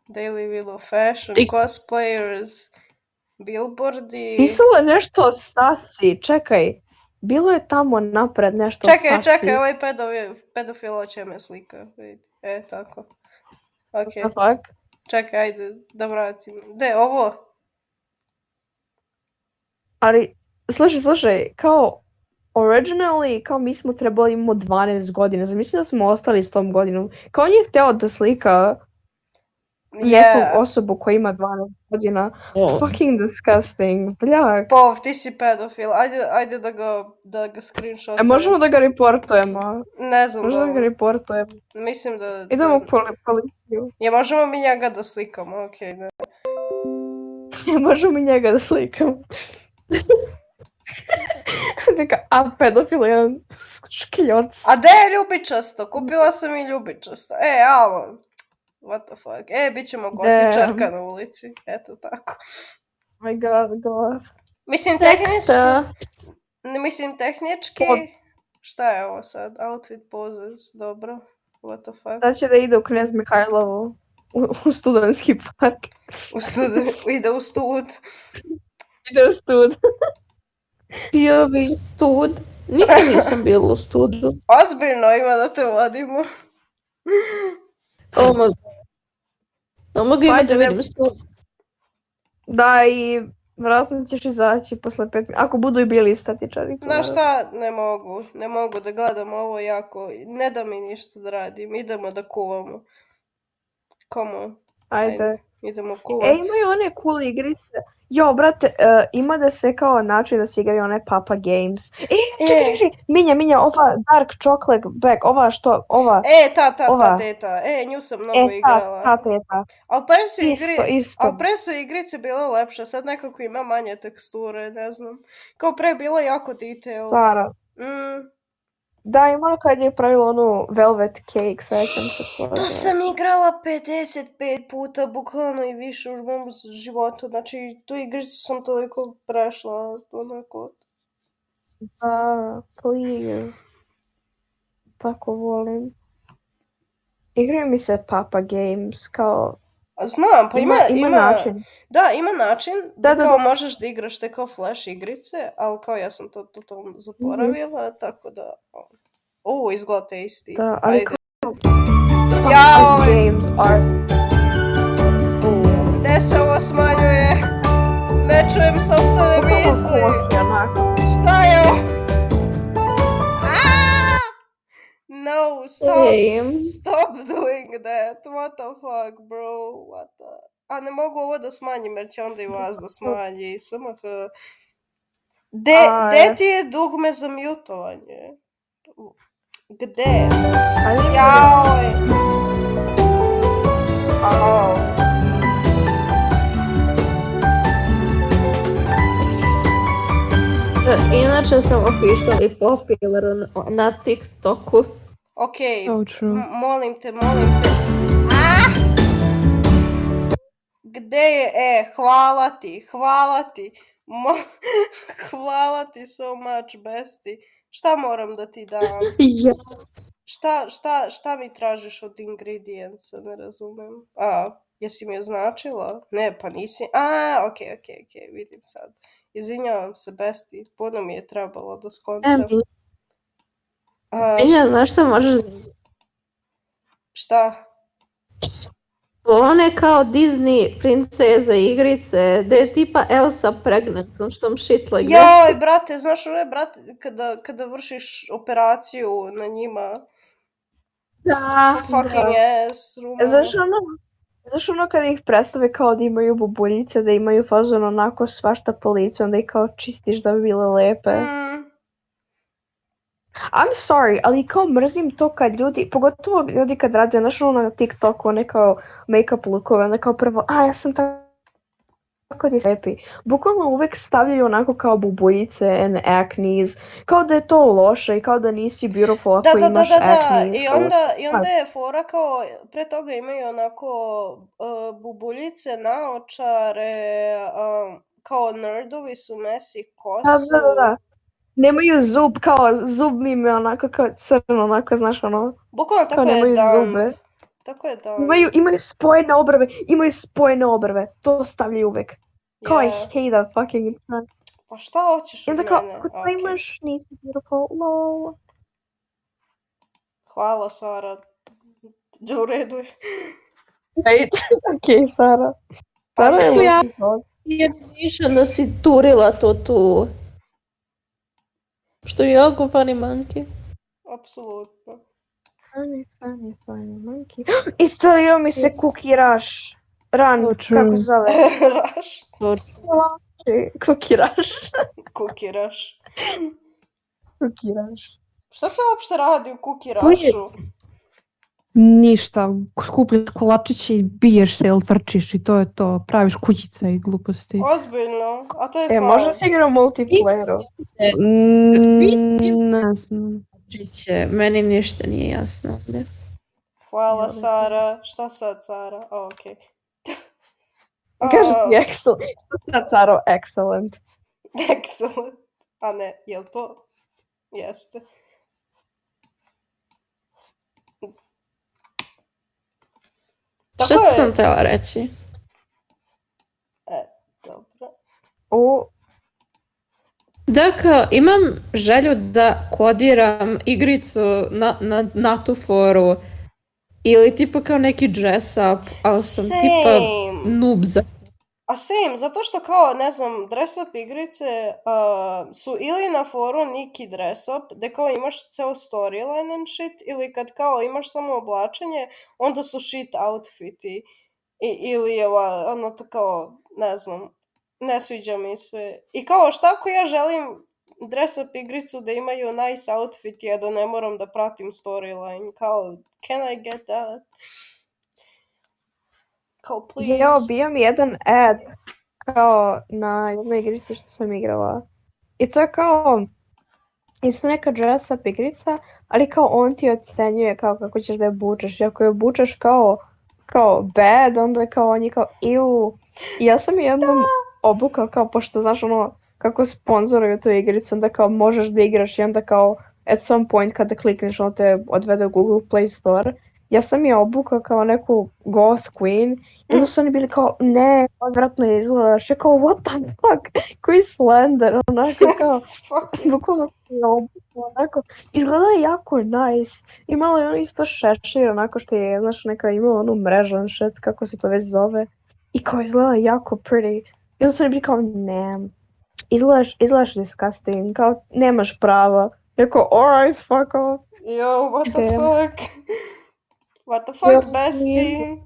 [SPEAKER 2] Daily Wheel of Fashion,
[SPEAKER 6] Ti-
[SPEAKER 2] cosplayers, billboardi...
[SPEAKER 1] Pisalo je nešto sasi, čekaj. Bilo je tamo napred nešto
[SPEAKER 2] Čekaj,
[SPEAKER 1] sasi.
[SPEAKER 2] čekaj, ovaj pedovi, pedofil hoće me slika. vidi. E, tako.
[SPEAKER 1] What
[SPEAKER 2] Ok,
[SPEAKER 1] the fuck?
[SPEAKER 2] čekaj, ajde, da vratim. De, ovo?
[SPEAKER 1] Ali, slušaj, slušaj, kao originally, kao mi smo trebali imamo 12 godina, zamisli da smo ostali s tom godinom. Kao on je hteo da slika
[SPEAKER 2] Yeah.
[SPEAKER 1] neku osobu koja ima 12 godina. Fucking disgusting, bljak.
[SPEAKER 2] Pov, ti si pedofil, ajde, ajde da ga, da ga screenshot.
[SPEAKER 1] E, možemo da ga reportujemo.
[SPEAKER 2] Ne znam,
[SPEAKER 1] Možemo da ga
[SPEAKER 2] da-
[SPEAKER 1] reportujemo.
[SPEAKER 2] mislim da...
[SPEAKER 1] Idemo u
[SPEAKER 2] da-
[SPEAKER 1] poli- policiju.
[SPEAKER 2] Je, možemo mi njega da slikamo, ok, ne.
[SPEAKER 1] Možemo i njega da slikamo. Neka, a pedofil je jedan škiljoc.
[SPEAKER 2] A de je ljubičasto, kupila sam i ljubičasto. E, alo, what the fuck. E, bit ćemo gotičarka na ulici, eto tako.
[SPEAKER 1] Oh my god, god.
[SPEAKER 2] Mislim, tehnički,
[SPEAKER 4] Sekta.
[SPEAKER 2] ne, mislim, tehnički,
[SPEAKER 1] Pod-
[SPEAKER 2] šta je ovo sad, outfit poses, dobro, what the fuck.
[SPEAKER 1] Sad će da ide u Knez Mihajlovu u, u studentski park.
[SPEAKER 2] U stud, ide u stud.
[SPEAKER 1] Ide u stud.
[SPEAKER 4] Bio bi stud. Nikad nisam bila u studu.
[SPEAKER 2] Ozbiljno ima da te vodimo.
[SPEAKER 4] Ovo mogu. Ovo mogu imat
[SPEAKER 1] Ajde,
[SPEAKER 4] da
[SPEAKER 1] ne-
[SPEAKER 4] vidim stud.
[SPEAKER 1] Da, i vjerojatno ćeš izaći posle pet minuta. Ako budu i bili statičari.
[SPEAKER 2] Znaš šta, ne mogu, ne mogu da gledam ovo jako, ne da mi ništa da radim, idemo da kuvamo. Come on,
[SPEAKER 1] Ajde.
[SPEAKER 2] idemo
[SPEAKER 1] E,
[SPEAKER 2] kuvat.
[SPEAKER 1] imaju one cool igrice. Jo, brate, e, ima da se kao način da se igraju one Papa Games. E, čekaj,
[SPEAKER 2] E.
[SPEAKER 1] čekaj, minja, minja, ova Dark Chocolate Bag, ova što, ova,
[SPEAKER 2] E, ta, ta, ta
[SPEAKER 1] Ova.
[SPEAKER 2] teta, e, nju sam
[SPEAKER 1] e,
[SPEAKER 2] mnogo
[SPEAKER 1] ta,
[SPEAKER 2] igrala.
[SPEAKER 1] ta teta,
[SPEAKER 2] Ali pre su igri,
[SPEAKER 1] isto, isto.
[SPEAKER 2] ali pre su igrice bile lepše, sad nekako ima manje teksture, ne znam. Kao pre je bilo jako detailed.
[SPEAKER 1] Stara.
[SPEAKER 2] Mm,
[SPEAKER 1] Da, imala kad je pravila onu Velvet Cake, sećam se toga.
[SPEAKER 2] to sam igrala 55 puta, bukvalno i više u mom životu. Znači, tu igricu sam toliko prešla, onako.
[SPEAKER 1] Da, please. Tako volim. Igraju mi se Papa Games, kao...
[SPEAKER 2] A Znam, pa ima,
[SPEAKER 1] ima, način.
[SPEAKER 2] Da, ima način da,
[SPEAKER 1] Da,
[SPEAKER 2] da,
[SPEAKER 1] da,
[SPEAKER 2] kao
[SPEAKER 1] da.
[SPEAKER 2] možeš da igraš te kao flash igrice, ali kao ja sam to
[SPEAKER 1] Mhm.
[SPEAKER 2] totalno zaboravila, tako da... O, izgleda tasty.
[SPEAKER 1] Da, ali
[SPEAKER 2] Ajde.
[SPEAKER 1] kao-
[SPEAKER 2] Ja,
[SPEAKER 1] Papa
[SPEAKER 2] ovaj,
[SPEAKER 1] Games are...
[SPEAKER 2] gde se ovo smanjuje? Ne! ne čujem sobstvene misli. Šta je ovo? Aaa! No, stop.
[SPEAKER 4] Ej,
[SPEAKER 2] Stop doing that. What the fuck, bro? What the... A ne mogu ovo da smanjim, jer će onda i vas da smanji. Samo h... De,
[SPEAKER 1] Aj.
[SPEAKER 2] de ti je dugme za mjutovanje? Gde?
[SPEAKER 1] Ali
[SPEAKER 2] Jaoj!
[SPEAKER 1] Ау.
[SPEAKER 4] Inače sam officially popular na TikToku.
[SPEAKER 2] Ok,
[SPEAKER 5] So true.
[SPEAKER 2] m- molim te, molim te. Ah! Gde je? E, hvala ti, hvala ti. Mo- hvala ti so much, besti. Šta moram da ti dam?
[SPEAKER 4] Ja.
[SPEAKER 2] Šta, šta, šta mi tražiš od ingredijenca, ne razumem. A, jesi mi označila? Ne, pa nisi. A, ok, ok, ok, vidim sad. Izvinjavam se, besti, puno mi je trebalo da
[SPEAKER 4] E,
[SPEAKER 2] skontam.
[SPEAKER 4] Milja,
[SPEAKER 2] A,
[SPEAKER 4] Milja, znaš šta možeš da
[SPEAKER 2] šta?
[SPEAKER 4] One kao Disney princeze igrice, da je tipa Elsa pregnant, no što shit like that.
[SPEAKER 2] Joj, brate, znaš ono je, brate, kada, kada vršiš operaciju na njima,
[SPEAKER 4] Da,
[SPEAKER 2] fucking ass,
[SPEAKER 1] E,
[SPEAKER 2] rumena.
[SPEAKER 1] Znaš ono, znaš ono kada ih predstave kao da imaju bubuljice, da imaju fazon onako svašta po licu, onda ih kao čistiš da bi bile lepe.
[SPEAKER 2] Mm,
[SPEAKER 1] I'm sorry, ali kao mrzim to kad ljudi, pogotovo ljudi kad rade, znaš ono na TikToku, one kao make-up lookove, onda kao prvo, a ja sam tako tako ti lepi. Bukvalno uvek stavljaju onako kao bubuljice and acnes, kao da je to loše i kao da nisi beautiful ako
[SPEAKER 2] Da, da, da,
[SPEAKER 1] imaš
[SPEAKER 2] da, da,
[SPEAKER 1] acne.
[SPEAKER 2] i onda, i onda je fora kao, pre toga imaju onako e, bubuljice, naočare, um, kao nerdovi su mesi kosu.
[SPEAKER 1] Da, da, da, da. Nemaju zub, kao zub mi je onako kao crno, onako, znaš ono,
[SPEAKER 2] Bukvalno
[SPEAKER 1] kao
[SPEAKER 2] tako je
[SPEAKER 1] nemaju
[SPEAKER 2] dumb.
[SPEAKER 1] zube.
[SPEAKER 2] Tako je dumb.
[SPEAKER 1] Imaju, imaju spojene obrve, imaju spojene obrve, to stavljaju uvek. Kao I
[SPEAKER 2] Yeah.
[SPEAKER 1] hate that fucking trend.
[SPEAKER 2] Pa šta hoćeš
[SPEAKER 1] I
[SPEAKER 2] od
[SPEAKER 1] onda
[SPEAKER 2] mene?
[SPEAKER 1] kao, ako to
[SPEAKER 2] Okej.
[SPEAKER 1] imaš, nisi beautiful, lol.
[SPEAKER 2] Hvala, Sara. U redu je.
[SPEAKER 1] Okej, Sara. Sara je
[SPEAKER 4] Ja.
[SPEAKER 1] lucky dog.
[SPEAKER 4] Jer Miša da si turila to tu. Što je jako funny monkey.
[SPEAKER 2] Apsolutno.
[SPEAKER 1] Funny, funny, funny monkey. Istelio mi se
[SPEAKER 4] Yes.
[SPEAKER 1] Cookie Rush. Run,
[SPEAKER 5] Oh, true.
[SPEAKER 1] kako se zove?
[SPEAKER 2] Raš,
[SPEAKER 1] Cookie Rush.
[SPEAKER 2] kukiraš.
[SPEAKER 1] Cookie Rush.
[SPEAKER 2] Šta se uopšte radi u kukirašu?
[SPEAKER 5] Ništa, skupljaš kolačiće i biješ se ili trčiš i to je to. Praviš kućice i gluposti.
[SPEAKER 2] Ozbiljno, no. a to je
[SPEAKER 1] E,
[SPEAKER 2] fun.
[SPEAKER 1] možda si igrao multiplayeru.
[SPEAKER 6] Vi ste-
[SPEAKER 5] Mm, ne znam.
[SPEAKER 6] Čiće, meni ništa nije jasno ovdje.
[SPEAKER 2] Hvala, Sara. Šta sad, Sara? A, okej.
[SPEAKER 1] Kaže
[SPEAKER 2] A,
[SPEAKER 1] ti excellent. Šta sad, Saro, excellent.
[SPEAKER 2] Excellent. A ne, jel to? Jeste. Tako
[SPEAKER 6] Šta
[SPEAKER 2] je.
[SPEAKER 6] sam tela reći?
[SPEAKER 2] Dobro.
[SPEAKER 1] U,
[SPEAKER 6] Da, kao, imam želju da kodiram igricu na, na, na tu foru. Ili tipa kao neki dress up, ali sam tipa
[SPEAKER 2] Same.
[SPEAKER 6] noob za...
[SPEAKER 2] A same, zato što kao, ne znam, dress up igrice uh, su ili na foru neki dress up, gde kao imaš ceo storyline and shit, ili kad kao imaš samo oblačenje, onda su shit outfiti. I, ili ova, ono to kao, ne znam, ne sviđa mi se. I kao, šta ako ja želim dress up igricu da imaju nice outfit, ja da ne moram da pratim storyline, kao, can I get that? Kao, please.
[SPEAKER 1] Jao, bio mi jedan ad kao na jednoj igrici što sam igrala. I to je kao isto neka dress up igrica, ali kao on ti ocenjuje kao kako ćeš da je bučeš. I ako je bučeš kao, kao bad, onda kao on je kao iu. I ja sam je jednom obukla kao, pošto znaš ono, kako sponzoruju tu igricu, onda kao možeš da igraš i onda kao at some point kada klikneš ono te odvede u Google Play Store. Ja sam je obukla kao neku goth queen i onda su oni bili kao, ne, odvratno izgledaš. Ja kao, what the fuck, koji slender, onako kao,
[SPEAKER 2] Fuck.
[SPEAKER 1] bukvalno sam je obukla, onako. Izgleda jako nice. Imala je on isto šešir, onako što je, znaš, neka imala onu mrežan shit, kako se to već zove. I kao izgleda jako pretty. I onda su oni bili kao, ne, izgledaš, izgledaš disgusting, kao, nemaš prava. Ja kao, alright, fuck off.
[SPEAKER 2] Yo, what the
[SPEAKER 1] Damn.
[SPEAKER 2] fuck? What the
[SPEAKER 1] Ja, please.
[SPEAKER 2] fuck, bestie?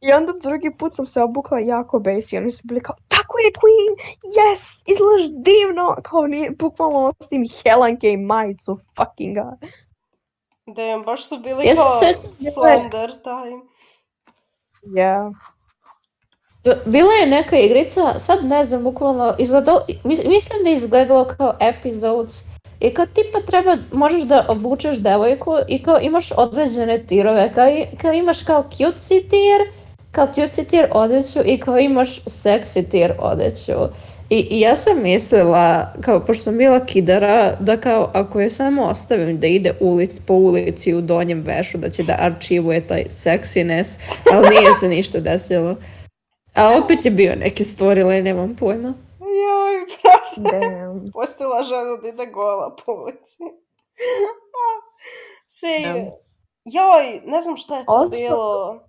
[SPEAKER 1] I onda drugi put sam se obukla jako basic, oni su bili kao, tako je queen, yes, izgledaš divno. Kao, nije, bukvalno nosim helanke i majicu, fucking god.
[SPEAKER 2] Damn, baš su bili
[SPEAKER 4] Ja sam
[SPEAKER 2] kao
[SPEAKER 4] sve
[SPEAKER 2] slender time.
[SPEAKER 1] Yeah.
[SPEAKER 4] B- Bila je neka igrica, sad ne znam, bukvalno, izgledalo, mis- mislim da je izgledalo kao episodes. I kao tipa treba, možeš da obučeš devojku i kao imaš određene tirove, kao, i- kao imaš kao cutesy tir, kao cutesy tir odeću i kao imaš sexy tir odeću. I, I ja sam mislila, kao pošto sam bila kidara, da kao ako je samo ostavim da ide ulic po ulici u donjem vešu, da će da arčivuje taj sexiness, ali nije se ništa desilo. A opet je bio neki storyline, nemam pojma.
[SPEAKER 2] Joj, brate,
[SPEAKER 1] Damn.
[SPEAKER 2] postila žena da ide gola po ulici. Se, joj, ne znam šta je to
[SPEAKER 1] Odšto-
[SPEAKER 2] bilo.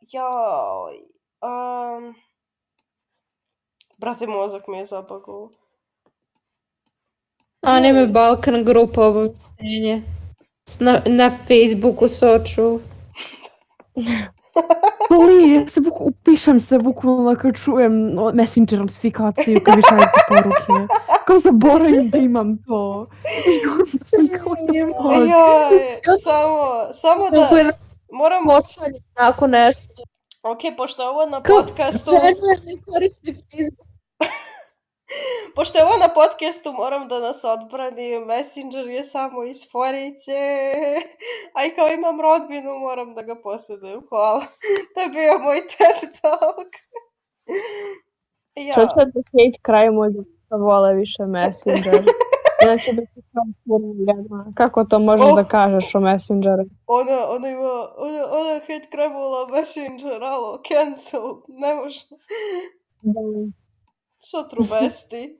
[SPEAKER 2] Joj, um, brate, mozak mi je zabagao.
[SPEAKER 4] Anime Balkan grupa obavštenje. Na, na Facebooku Soču.
[SPEAKER 5] Boli, ja se buk, upišem se bukvalno kad čujem o, messenger notifikaciju kad mi šaljete poruke. Kao zaboravim da imam to. I onda sam kao, what the fuck?
[SPEAKER 2] Joj, samo, samo da,
[SPEAKER 4] Kako je
[SPEAKER 2] moramo,
[SPEAKER 4] pošalje tako nešto.
[SPEAKER 2] ok, pošto je ovo na
[SPEAKER 4] Kao-
[SPEAKER 2] podcastu,
[SPEAKER 4] Černer ne koristi Facebook.
[SPEAKER 2] pošto je ovo na podcastu, moram da nas odbrani, Messenger je samo iz Forice, a i kao imam rodbinu, moram da ga posjedujem, hvala. To je bio moj TED Talk. Ja,
[SPEAKER 1] Čočka da hate kraj možda vole više Messenger. Inače bi se kao furgana. Kako to možeš
[SPEAKER 2] Oh.
[SPEAKER 1] da kažeš o Messengeru?
[SPEAKER 2] ona, ona ono, ima, ona, ona je hate krebula Messenger, alo, cancel, ne može.
[SPEAKER 1] Da.
[SPEAKER 2] Sotru besti.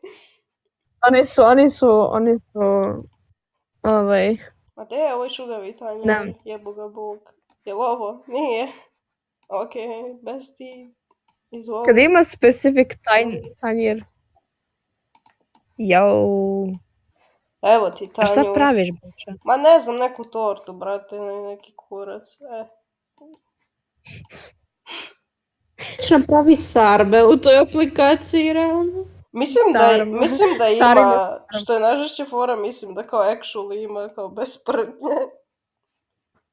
[SPEAKER 1] Oni su, oni su, oni su, ovaj,
[SPEAKER 2] Ma gde je ovaj šugavi tanjir?
[SPEAKER 1] Da.
[SPEAKER 2] Jebo ga bog. Jel ovo? Nije. Ok, besti. Izvoli.
[SPEAKER 1] kad ima specific tanj, tanjir. Jau,
[SPEAKER 2] Evo ti
[SPEAKER 1] a
[SPEAKER 2] tanjir.
[SPEAKER 1] šta praviš, boča?
[SPEAKER 2] Ma ne znam, neku tortu, brate, ne- neki kurac. E.
[SPEAKER 4] Već napravi sarme u toj aplikaciji, realno.
[SPEAKER 2] Mislim da,
[SPEAKER 1] Naravno.
[SPEAKER 2] mislim da ima,
[SPEAKER 1] Naravno.
[SPEAKER 2] što je najžešće fora, mislim da kao actually ima kao bez prdnje.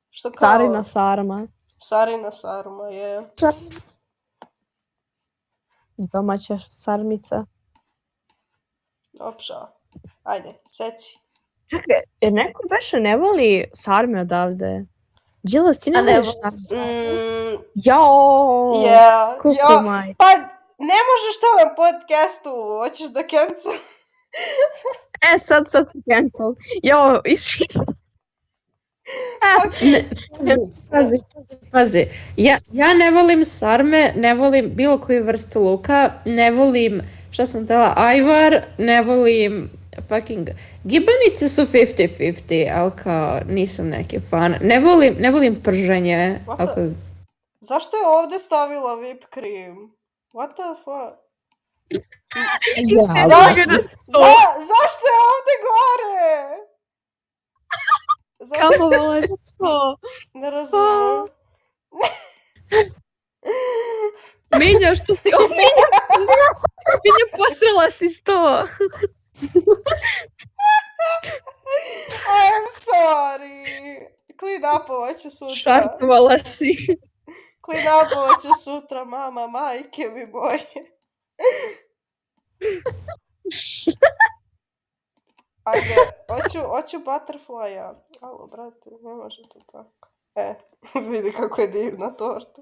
[SPEAKER 2] Što kao...
[SPEAKER 1] Carina sarma,
[SPEAKER 2] Sarina sarma, je.
[SPEAKER 1] domaća sarmica.
[SPEAKER 2] Opša. Ajde, seci.
[SPEAKER 1] Čekaj, jer neko beše ne voli sarme odavde? Đilas, ti
[SPEAKER 4] A
[SPEAKER 1] ne
[SPEAKER 4] ne
[SPEAKER 1] voliš
[SPEAKER 4] voli
[SPEAKER 1] sarme?
[SPEAKER 2] Mm,
[SPEAKER 1] Jao!
[SPEAKER 2] yeah,
[SPEAKER 1] Kako
[SPEAKER 2] ja,
[SPEAKER 1] maj?
[SPEAKER 2] Pa, ne možeš to na podcastu, hoćeš da cancel?
[SPEAKER 1] E, sad, sad se cancel. Jao, išli.
[SPEAKER 4] Ne, pazi, pazi, pazi, pazi. Ja, ja ne volim sarme, ne volim bilo koju vrstu luka, ne volim, šta sam tela, ajvar, ne volim fucking... Gibanice su 50-50, ali kao nisam neki fan. Ne volim, ne volim prženje,
[SPEAKER 2] What the-
[SPEAKER 4] ako...
[SPEAKER 2] Zašto je ovdje stavila whip cream? What the fuck?
[SPEAKER 4] Ja,
[SPEAKER 2] Zašto, za, zašto je ovdje gore? Zašto?
[SPEAKER 1] Kako vole to?
[SPEAKER 2] Ne razumijem.
[SPEAKER 1] Minja, što si... O, Minja! Minja, posrela si sto!
[SPEAKER 2] I'm sorry. Clean upova ću sutra.
[SPEAKER 1] Šartovala si.
[SPEAKER 2] Clean upova ću sutra, mama, majke mi boje. Ajde, hoću, hoću butterfly-a. Alo, brate, ne može to tako. E, vidi kako je divna torta.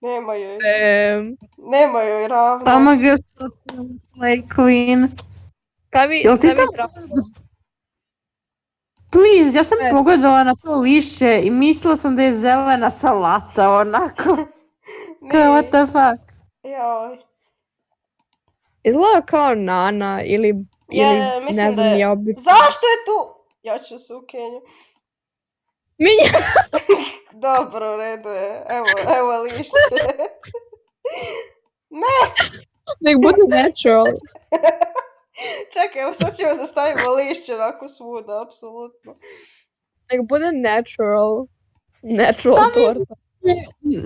[SPEAKER 2] Nema joj,
[SPEAKER 1] Ehm,
[SPEAKER 2] nema joj ravno.
[SPEAKER 4] Pa
[SPEAKER 6] ga Slay Queen.
[SPEAKER 1] Šta mi...
[SPEAKER 6] Jel ti
[SPEAKER 1] šta mi
[SPEAKER 6] to-
[SPEAKER 1] pravila?
[SPEAKER 6] Please, ja sam
[SPEAKER 1] E.
[SPEAKER 6] pogledala na to lišće i mislila sam da je zelena salata, onako. Kao,
[SPEAKER 2] Nije.
[SPEAKER 6] what the fuck?
[SPEAKER 2] Joj.
[SPEAKER 1] Izgleda kao Nana ili...
[SPEAKER 2] Je,
[SPEAKER 1] ili,
[SPEAKER 2] mislim
[SPEAKER 1] ne
[SPEAKER 2] da
[SPEAKER 1] znam,
[SPEAKER 2] je-
[SPEAKER 1] ja obi...
[SPEAKER 2] Zašto je tu? Ja ću se u Kenju.
[SPEAKER 1] Minja!
[SPEAKER 2] Dobro, u redu je. Evo, evo lišće. ne!
[SPEAKER 4] Nek bude natural.
[SPEAKER 2] Čekaj, evo sad ćemo da stavimo lišće onako svuda, apsolutno.
[SPEAKER 1] Nek bude natural. Natural torta.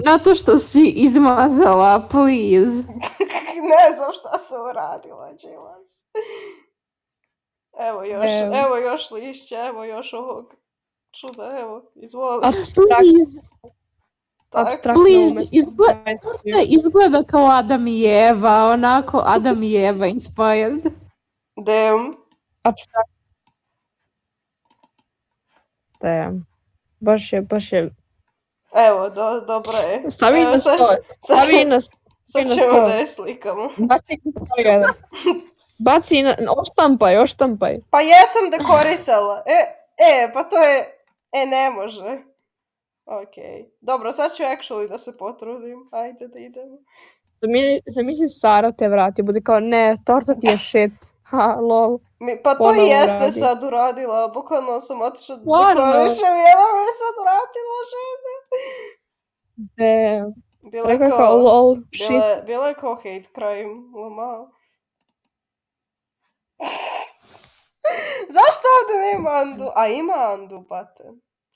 [SPEAKER 4] Na to što si izmazala, please.
[SPEAKER 2] ne znam šta sam uradila, Džilas. Evo još,
[SPEAKER 1] Evo.
[SPEAKER 2] evo. još lišće, evo još ovog čuda, evo, izvoli.
[SPEAKER 4] Please,
[SPEAKER 2] Tako.
[SPEAKER 1] Abstraktna
[SPEAKER 4] Bliž-
[SPEAKER 1] umetnost.
[SPEAKER 4] izgled-
[SPEAKER 1] Ajde.
[SPEAKER 4] ne, e, izgleda kao Adam i Eva, onako Adam i Eva inspired.
[SPEAKER 2] Damn.
[SPEAKER 1] Abstraktna. Damn. Baš je, baš je.
[SPEAKER 2] Evo, do, dobro je.
[SPEAKER 1] Stavi
[SPEAKER 2] Evo,
[SPEAKER 1] na
[SPEAKER 2] sad-
[SPEAKER 1] sto.
[SPEAKER 2] Sad,
[SPEAKER 1] Stavi na sto.
[SPEAKER 2] sad
[SPEAKER 1] na
[SPEAKER 2] ćemo
[SPEAKER 1] sto.
[SPEAKER 2] da je slikamo.
[SPEAKER 1] Baci na sto jedan. Baci na... Oštampaj, oštampaj.
[SPEAKER 2] Pa jesam dekorisala. E, e, pa to je... E, ne može. Ok. Dobro, sad ću actually da se potrudim. Ajde da idemo.
[SPEAKER 1] Zamisli- Zamisli Sara te vrati, bude kao ne, torta ti je shit. Ha, lol.
[SPEAKER 2] Mi, pa to i
[SPEAKER 1] Ponovo
[SPEAKER 2] jeste
[SPEAKER 1] radi.
[SPEAKER 2] sad uradila, bukvalno sam otišla da
[SPEAKER 1] Stvarno?
[SPEAKER 2] dekorišem i ona me sad vratila žena.
[SPEAKER 1] De,
[SPEAKER 2] Bila je
[SPEAKER 1] rekao je kao
[SPEAKER 2] kao,
[SPEAKER 1] lol, shit.
[SPEAKER 2] bila, je- bila je kao hate crime, lomao. Zašto ovdje nema Andu? A ima Andu, bate.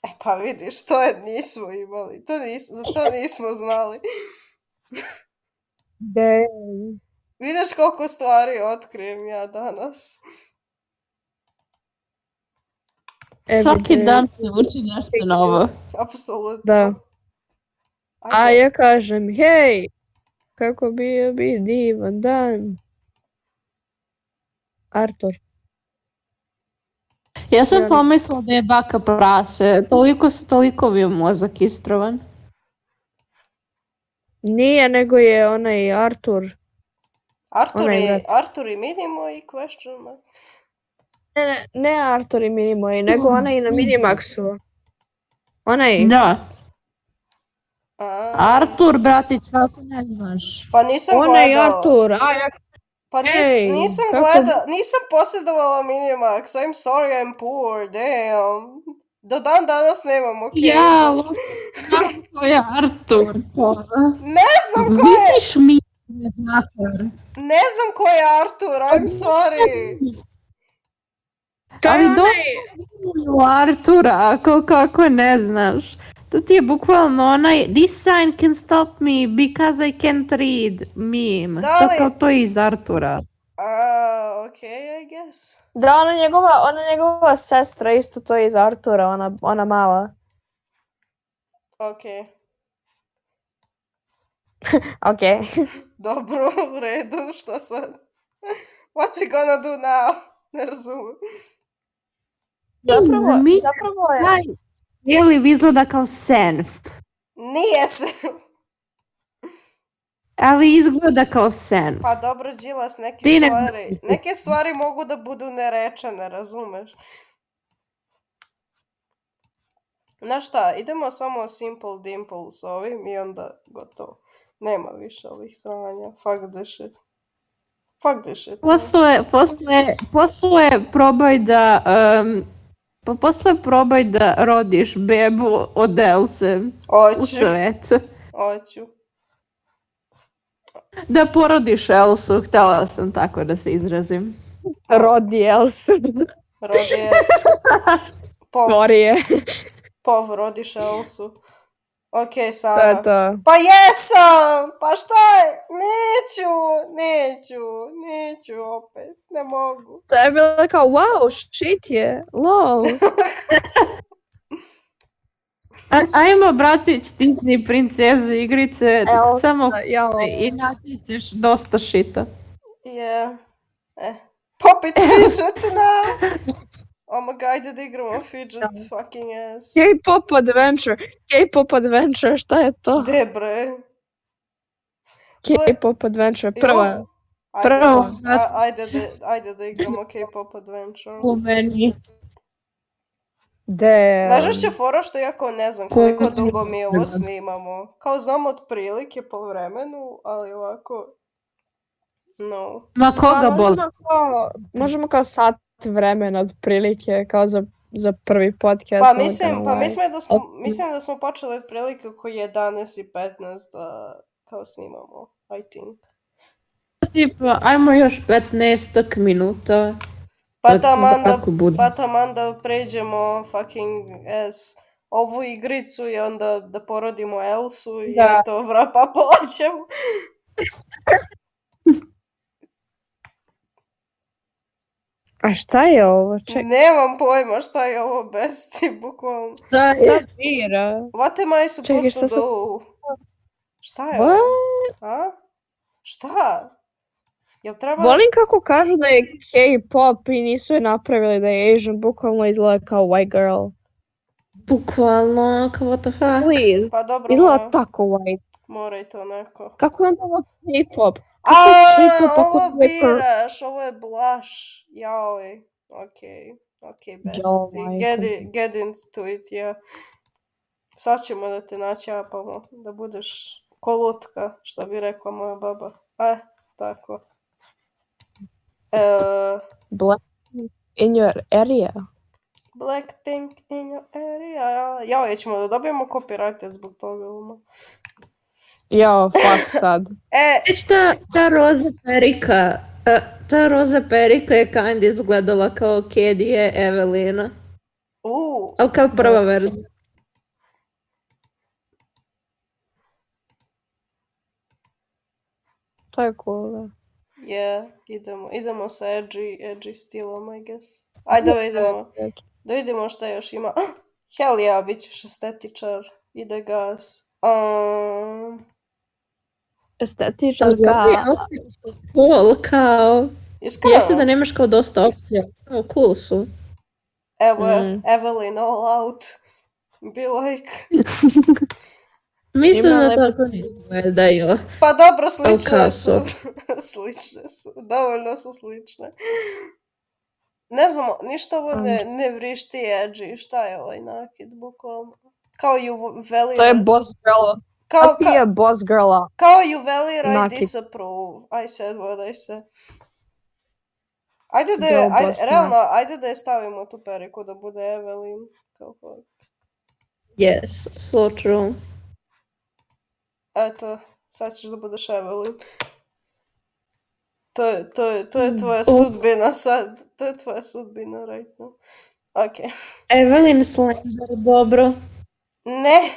[SPEAKER 2] E pa vidiš, to je, nismo imali, to nis, za to nismo znali.
[SPEAKER 1] De,
[SPEAKER 2] Vidiš koliko stvari otkrijem ja danas.
[SPEAKER 1] E,
[SPEAKER 4] Svaki
[SPEAKER 1] everyday.
[SPEAKER 4] dan se uči nešto novo.
[SPEAKER 2] Apsolutno.
[SPEAKER 1] Da. A
[SPEAKER 2] Ajde.
[SPEAKER 1] ja kažem, hej, kako bio bi divan dan. Artur.
[SPEAKER 4] Ja sam
[SPEAKER 1] Jel?
[SPEAKER 4] pomislila da je baka prase, toliko, toliko bio mozak istrovan.
[SPEAKER 1] Nije, nego je onaj Artur.
[SPEAKER 2] Artur
[SPEAKER 1] Onaj
[SPEAKER 2] i,
[SPEAKER 1] igrač.
[SPEAKER 2] Artur i Minimo i question mark.
[SPEAKER 1] Ne, ne, ne Artur i Minimoj, nego onaj na Minimaxu. Onaj,
[SPEAKER 4] Da,
[SPEAKER 2] A,
[SPEAKER 4] Artur, bratić, kako ne znaš?
[SPEAKER 2] Pa nisam
[SPEAKER 1] onaj
[SPEAKER 2] gledala.
[SPEAKER 1] Artur. A ja
[SPEAKER 2] Pa nis,
[SPEAKER 1] Ej,
[SPEAKER 2] nisam
[SPEAKER 1] kako-
[SPEAKER 2] gleda, nisam posjedovala Minimax. I'm sorry, I'm poor, damn. Do dan danas nemam, ok.
[SPEAKER 4] Ja, lupa, znam ko je Artur.
[SPEAKER 2] Ne znam ko je,
[SPEAKER 4] Misliš mi da je Artur?
[SPEAKER 2] ne znam ko je Artur, I'm sorry.
[SPEAKER 1] To je
[SPEAKER 4] Ali
[SPEAKER 1] onaj-
[SPEAKER 4] dosta Artura, ako kako ne znaš. To ti je bukvalno onaj This sign can stop me because I can't read meme.
[SPEAKER 2] Da
[SPEAKER 4] To
[SPEAKER 2] li-
[SPEAKER 4] kao to je iz Artura.
[SPEAKER 2] A, ok, I guess.
[SPEAKER 1] Da, ona njegova, ona njegova sestra isto to je iz Artura, ona, ona mala.
[SPEAKER 2] Ok,
[SPEAKER 1] Ok.
[SPEAKER 2] dobro, u redu, šta sad? What we gonna do now? Ne razumem.
[SPEAKER 1] Zapravo,
[SPEAKER 4] Zamisli
[SPEAKER 1] zapravo je...
[SPEAKER 4] Taj cijeli izgleda kao senf,
[SPEAKER 2] Nije se.
[SPEAKER 4] ali izgleda kao senf.
[SPEAKER 2] Pa dobro, Đilas, neke
[SPEAKER 4] Ti ne
[SPEAKER 2] stvari, neke stvari mogu da budu nerečene, razumeš? Znaš šta, idemo samo Simple Dimple s ovim i onda gotovo. Nema više ovih sranja, fuck the shit. Fuck the shit.
[SPEAKER 4] Posle, posle, posle probaj da... em, pa posle probaj da rodiš bebu od Else u
[SPEAKER 2] Oću,
[SPEAKER 4] svet.
[SPEAKER 2] oću.
[SPEAKER 4] Da porodiš Elsu, htjela sam tako da se izrazim.
[SPEAKER 1] Rodi Elsu.
[SPEAKER 2] Rodi je... Pov,
[SPEAKER 1] Mori je.
[SPEAKER 2] pov rodiš Elsu. Ok,
[SPEAKER 1] To
[SPEAKER 2] Sara.
[SPEAKER 1] je to.
[SPEAKER 2] Pa jesam! Pa šta je? Neću, neću, neću opet, ne mogu.
[SPEAKER 1] To je bilo kao, wow, shit je, lol.
[SPEAKER 4] A, ajmo bratić Disney princeze igrice,
[SPEAKER 1] Elsa,
[SPEAKER 4] samo
[SPEAKER 1] Jao.
[SPEAKER 4] i naći ćeš dosta šita.
[SPEAKER 2] Je. Eh. Popit fidget now! Oh my god, ajde da igramo fidget, fucking ass.
[SPEAKER 1] K-pop adventure, K-pop adventure, šta je to?
[SPEAKER 2] De bre.
[SPEAKER 1] K-pop adventure, prva.
[SPEAKER 2] Jo, Ajde,
[SPEAKER 1] prvo,
[SPEAKER 2] a-
[SPEAKER 1] znači.
[SPEAKER 2] ajde, da, ajde da igramo K-pop adventure.
[SPEAKER 4] U meni.
[SPEAKER 1] De.
[SPEAKER 2] Znaš još je fora što ja kao ne znam koliko dugo mi ovo snimamo. Kao znam otprilike po vremenu, ali ovako... No.
[SPEAKER 4] Ma koga boli?
[SPEAKER 1] Možemo kao, možemo kao sat vremena otprilike, kao za, za prvi podcast.
[SPEAKER 2] Pa
[SPEAKER 1] ono
[SPEAKER 2] mislim,
[SPEAKER 1] kao,
[SPEAKER 2] pa
[SPEAKER 1] ovaj.
[SPEAKER 2] mislim da smo, mislim da smo počeli otprilike oko 11 i 15 da kao snimamo, I think.
[SPEAKER 4] Pa
[SPEAKER 6] tipa, ajmo još 15 minuta.
[SPEAKER 2] Pa taman da
[SPEAKER 6] tako bude.
[SPEAKER 2] Pa taman da pređemo fucking S ovu igricu i onda da porodimo Elsu i
[SPEAKER 6] Da.
[SPEAKER 2] to vrapa počemo.
[SPEAKER 7] A šta je ovo? Ček,
[SPEAKER 2] Nemam pojma šta je ovo besti, bukvalno.
[SPEAKER 4] Da, je.
[SPEAKER 7] bira.
[SPEAKER 2] What am I supposed
[SPEAKER 7] Čekaj, šta
[SPEAKER 2] to
[SPEAKER 7] se-
[SPEAKER 2] do? Šta je
[SPEAKER 7] What?
[SPEAKER 2] ovo? A? Šta? Jel treba...
[SPEAKER 7] Volim kako kažu da je K-pop i nisu je napravili da je Asian, bukvalno izgleda kao white girl.
[SPEAKER 4] Bukvalno, kao what the fuck.
[SPEAKER 7] Please,
[SPEAKER 2] Pa dobro,
[SPEAKER 7] izgleda
[SPEAKER 2] mora,
[SPEAKER 7] tako white.
[SPEAKER 2] mora i to neko.
[SPEAKER 7] Kako je onda ovo K-pop?
[SPEAKER 2] A,
[SPEAKER 7] K-pop ako
[SPEAKER 2] ovo
[SPEAKER 7] je to-
[SPEAKER 2] biraš, ovo je blaš. Jaoj, okej, okej, besti. Get, i- get into it, ja. Sad ćemo da te načapamo, da budeš kolutka, što bi rekla moja baba. E, tako. E,
[SPEAKER 1] Black in your area.
[SPEAKER 2] Blackpink in your area. Jao, ćemo da dobijemo copyright zbog toga. Uma.
[SPEAKER 1] Jao, fuck sad.
[SPEAKER 2] E,
[SPEAKER 4] E, ta, ta roza perika, e, ta roza perika je kind izgledala kao Kedije Evelina.
[SPEAKER 2] u,
[SPEAKER 4] Ali kao prva verzija.
[SPEAKER 7] To je cool, da.
[SPEAKER 2] yeah, idemo, idemo sa edgy, edgy stilom, I guess. Ajde da vidimo, da vidimo šta još ima. Ah, Hell yeah, bit ćeš estetičar, ide gas. Um,
[SPEAKER 1] Estetičan
[SPEAKER 4] Ali
[SPEAKER 1] ga.
[SPEAKER 4] ovi outfiti su cool, kao...
[SPEAKER 2] iskreno,
[SPEAKER 4] Jesi da nemaš kao dosta opcija. Kao cool su.
[SPEAKER 2] evo je,
[SPEAKER 1] Mm.
[SPEAKER 2] Evelyn all out. Be like,
[SPEAKER 4] Mislim
[SPEAKER 1] Ima
[SPEAKER 4] da
[SPEAKER 1] lepo-
[SPEAKER 4] tako ne izgledaju.
[SPEAKER 2] pa dobro, slične
[SPEAKER 4] kao
[SPEAKER 2] su.
[SPEAKER 4] soč.
[SPEAKER 2] slične su, dovoljno su slične. Ne znam, ništa ovo ne, ne vrišti edgy, šta je ovaj nakid, bukvalno. Kao juvelira,
[SPEAKER 1] To je boss girl.
[SPEAKER 2] kao,
[SPEAKER 1] A ti
[SPEAKER 2] kao,
[SPEAKER 1] je boss girl.
[SPEAKER 2] kao juvelira i
[SPEAKER 1] nakid.
[SPEAKER 2] disapprove. I said what I said. Ajde da,
[SPEAKER 1] Bio
[SPEAKER 2] je, ajde,
[SPEAKER 1] baš
[SPEAKER 2] realno, ajde da je stavimo tu periku da bude Evelyn. Kao god.
[SPEAKER 4] Yes, so true.
[SPEAKER 2] Eto, sad ćeš da budeš Evelyn. To je, to je, to je tvoja sudbina sad. To je tvoja sudbina right now. Ok.
[SPEAKER 4] Evelyn E, Slender, dobro.
[SPEAKER 2] Ne!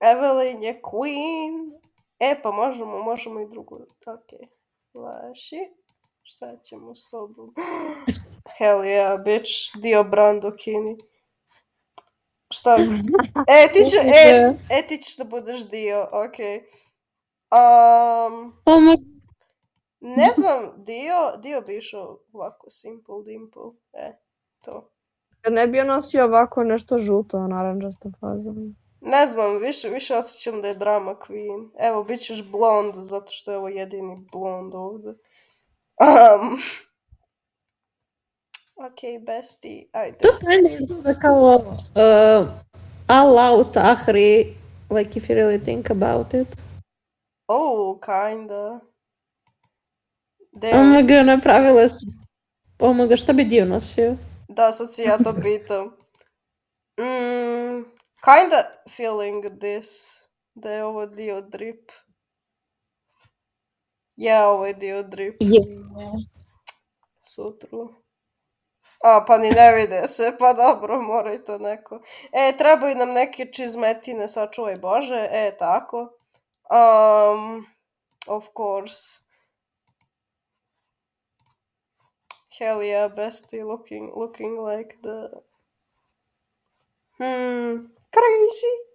[SPEAKER 2] Evelyn je queen. E, pa možemo, možemo i drugu. Ok. Laši. Šta ćemo s tobom? Hell yeah, bitch. Dio Brando Kini. Šta? E, ti, će, e, e, ti ćeš da budeš dio, ok. Um,
[SPEAKER 4] O moj
[SPEAKER 2] ne znam, dio, dio bi išao ovako, simple, dimple, e, to.
[SPEAKER 7] Kad ne bi on nosio ovako nešto žuto,
[SPEAKER 1] ono,
[SPEAKER 7] naranđasto fazom.
[SPEAKER 2] Ne znam, više, više osjećam da je drama queen. Evo, bit ćeš blond, zato što je ovo jedini blond ovdje. Um, ok, besti, ajde.
[SPEAKER 4] To kinda izgleda kao uh, all out ahri, like if you really think about it.
[SPEAKER 2] Oh, kinda. Damn.
[SPEAKER 4] Omaga, napravila su... Omaga, šta bi dio nosio?
[SPEAKER 2] Da, sad si ja to pitam. Mm, kinda feeling this. Da je ovo dio drip. Ja, ovo je dio drip.
[SPEAKER 4] Je.
[SPEAKER 2] Sutru. A, pa ni ne vide se, pa dobro, mora i to neko. E, trebaju nam neke čizmetine, sačuvaj Bože, e, tako. Um, of course. Hell yeah, bestie looking, looking like the... Hmm, crazy.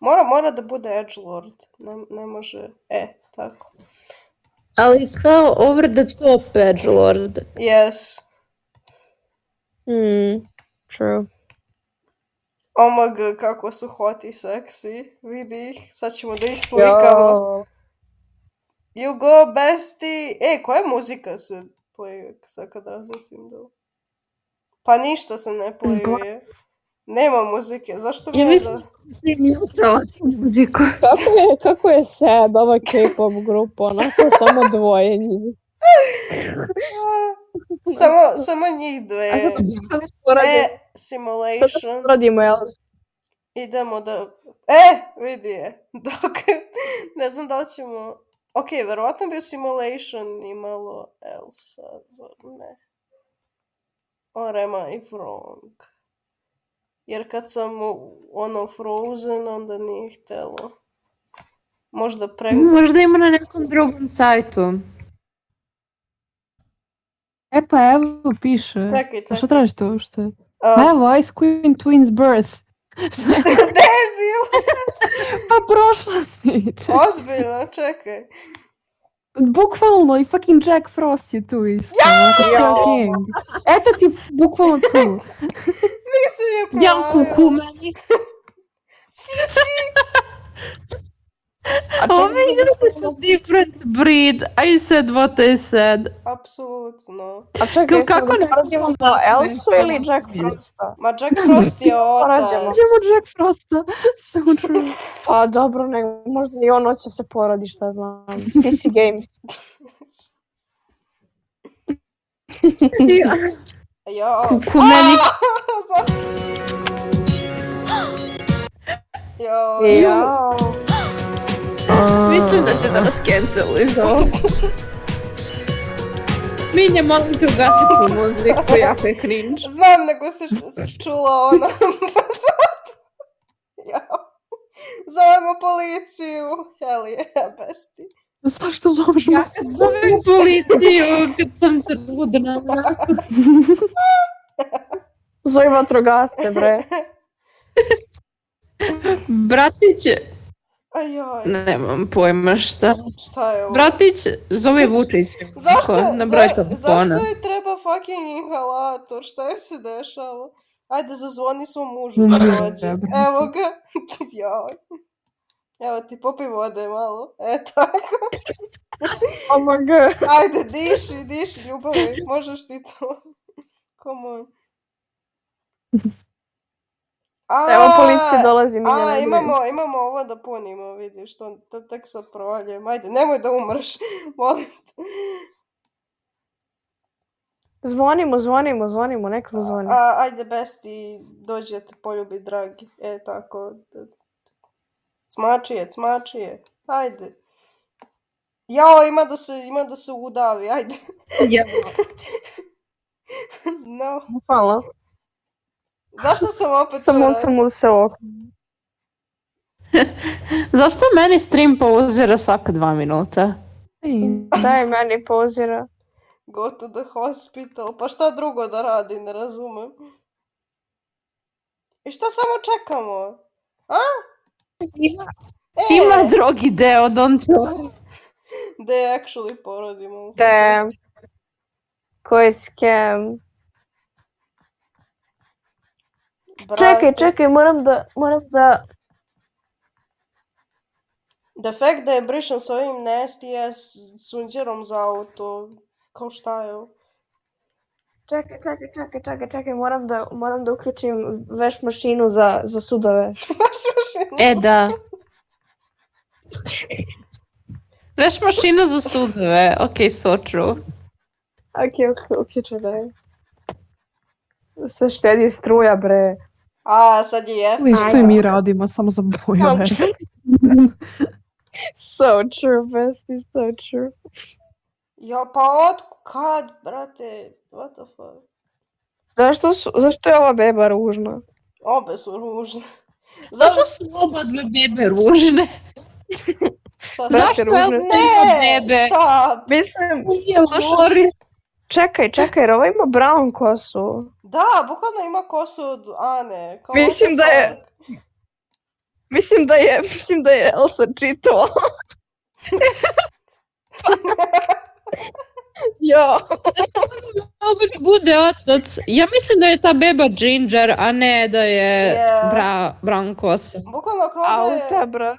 [SPEAKER 2] Mora, mora da bude edgelord. Ne, ne može, e, tako.
[SPEAKER 4] Ali kao over the top edgelord.
[SPEAKER 2] Yes.
[SPEAKER 7] Hmm, true.
[SPEAKER 2] OMG, kako su hot i seksi. Vidi ih, sad ćemo da ih slikamo. You go besti! E, koja je muzika se playuje sad kad razmislim da... Pa ništa se ne playuje. Nema muzike, zašto mi
[SPEAKER 4] Ja
[SPEAKER 2] je
[SPEAKER 4] mislim-
[SPEAKER 2] da...
[SPEAKER 4] Ti mi utrala muziku.
[SPEAKER 7] Kako je, kako je sad ova K-pop grupa, onako samo dvoje njih.
[SPEAKER 2] A, Samo, samo njih dve.
[SPEAKER 1] A kako sad poradimo?
[SPEAKER 2] E, simulation.
[SPEAKER 1] Poradimo Elsu.
[SPEAKER 2] Idemo da... E, vidi je. Dok... ne znam da li ćemo... Ok, verovatno bi u Simulation imalo Elsa, zar ne? Or am I wrong? Jer kad sam u- ono Frozen, onda nije htjelo. Možda pre...
[SPEAKER 4] Možda ima na nekom drugom sajtu.
[SPEAKER 5] E pa evo piše.
[SPEAKER 2] Čekaj,
[SPEAKER 5] A što
[SPEAKER 2] čekaj.
[SPEAKER 5] tražiš to uopšte?
[SPEAKER 2] A,
[SPEAKER 5] Pa evo, Ice Queen Twins Birth.
[SPEAKER 2] debil!
[SPEAKER 5] Pa prošla si. čekaj.
[SPEAKER 2] Ozbiljno, čekaj.
[SPEAKER 5] Bukvalno i fucking Jack Frost je tu isto. Ja! King. Eto ti bukvalno tipo, tu.
[SPEAKER 2] Nisam je pravila.
[SPEAKER 4] Jam kuku meni.
[SPEAKER 2] Si, si!
[SPEAKER 4] Ove igrice su different breed. I said what I said.
[SPEAKER 2] Apsolutno.
[SPEAKER 1] A čekaj,
[SPEAKER 4] Kao, kako ne
[SPEAKER 1] Porađujemo na Elsu ili Jack Frosta?
[SPEAKER 2] Ma Jack Frost je
[SPEAKER 5] Ah,
[SPEAKER 1] Porađamo.
[SPEAKER 2] otac.
[SPEAKER 5] Idemo Jack tá? Frosta. Samo é um true.
[SPEAKER 1] Pa dobro, ne, možda i on hoće se porodi, šta znam. CC Games.
[SPEAKER 2] Ja.
[SPEAKER 4] Kuku meni.
[SPEAKER 2] Zašto? Jo.
[SPEAKER 1] Jao.
[SPEAKER 4] Mislim da će da nas canceli za ovo. Minja, molim te ugasi tu muziku, jako je cringe.
[SPEAKER 2] Znam, nego se š- čula ona. pa sad. Jo. Zovemo policiju. Hell yeah, besti.
[SPEAKER 5] Zašto zoveš me?
[SPEAKER 4] Zovem policiju kad sam trudna.
[SPEAKER 1] Zove vatrogasce, bre.
[SPEAKER 4] Bratić,
[SPEAKER 2] Ajoj,
[SPEAKER 4] nemam pojma šta.
[SPEAKER 2] šta je ovo?
[SPEAKER 4] Bratić, zove Vučić.
[SPEAKER 2] Zašto,
[SPEAKER 4] Ko? Na broj
[SPEAKER 2] za-
[SPEAKER 4] telefona.
[SPEAKER 2] zašto joj treba fucking inhalator? Šta joj se dešava? Ajde, zazvoni svom mužu da
[SPEAKER 5] Umri,
[SPEAKER 2] dođe.
[SPEAKER 5] dobro.
[SPEAKER 2] Evo ga. Joj. Evo ti popij vode malo. E tako.
[SPEAKER 1] Oh my god.
[SPEAKER 2] Ajde, diši, diši, ljubavi. Možeš ti to. Come on. A,
[SPEAKER 1] Evo policija dolazi, mi
[SPEAKER 2] A,
[SPEAKER 1] ne
[SPEAKER 2] imamo, imamo ovo da punimo, vidiš, to, to tek sad provaljujem. Ajde, nemoj da umreš, molim te.
[SPEAKER 1] Zvonimo, zvonimo, zvonimo, neko mu zvoni.
[SPEAKER 2] A, ajde, besti, dođi ja te poljubi, dragi. E, tako. Cmačije, cmačije. Ajde. Jao, ima da se, ima da se udavi, ajde. No.
[SPEAKER 1] Hvala.
[SPEAKER 2] Zašto sam opet pa to
[SPEAKER 1] Samo
[SPEAKER 2] uradila?
[SPEAKER 1] sam mu se ok.
[SPEAKER 4] Zašto meni stream pauzira svaka dva minuta?
[SPEAKER 5] Ej,
[SPEAKER 1] Daj meni pozira.
[SPEAKER 2] Go to the hospital. Pa šta drugo da radi, ne razumem. I šta samo čekamo? A? E,
[SPEAKER 4] Ima drugi deo, don't
[SPEAKER 2] Da je actually porodimo.
[SPEAKER 1] Damn. Koji scam.
[SPEAKER 2] Brate.
[SPEAKER 1] Čekaj, čekaj, moram da, moram da...
[SPEAKER 2] The fact da je brišen s ovim nasty ass sunđerom za auto. Kao šta je ovo?
[SPEAKER 1] Čekaj, čekaj, čekaj, čekaj, čekaj, moram da, moram da uključim veš mašinu za, za sudove.
[SPEAKER 2] Baš mašina.
[SPEAKER 4] E, da. Veš mašina za sudove, ok, so true.
[SPEAKER 1] Ok, ok, uključena je. Se štedi struja, bre.
[SPEAKER 2] A, sad je jef.
[SPEAKER 5] ali što i mi radimo, samo za bojove.
[SPEAKER 1] So true, bestie, so true.
[SPEAKER 2] Jo, pa od kad, brate? What the fuck?
[SPEAKER 1] Zašto, su, zašto je ova beba ružna?
[SPEAKER 2] Obe su ružne. Zašto?
[SPEAKER 4] Zašto su oba dve bebe ružne?
[SPEAKER 2] Šta
[SPEAKER 1] Brate,
[SPEAKER 4] Zašto
[SPEAKER 1] ružne
[SPEAKER 4] je
[SPEAKER 1] su.
[SPEAKER 4] ne bebe?
[SPEAKER 2] stop.
[SPEAKER 1] Mislim,
[SPEAKER 4] Nije Lori.
[SPEAKER 1] čekaj, čekaj, jer ova ima brown kosu.
[SPEAKER 2] Da, bukvalno ima kosu od Ane. Kao, what
[SPEAKER 1] Mislim da
[SPEAKER 2] the
[SPEAKER 1] je-
[SPEAKER 2] fuck?
[SPEAKER 1] Mislim da je, mislim da je Elsa čitala. jo,
[SPEAKER 4] Mogu da bude otac. Ja mislim da je ta beba Ginger, a ne da je
[SPEAKER 2] Je.
[SPEAKER 4] E, bra, brown kosa.
[SPEAKER 2] Bukvalno kao da
[SPEAKER 1] auta,
[SPEAKER 2] je,
[SPEAKER 1] bro.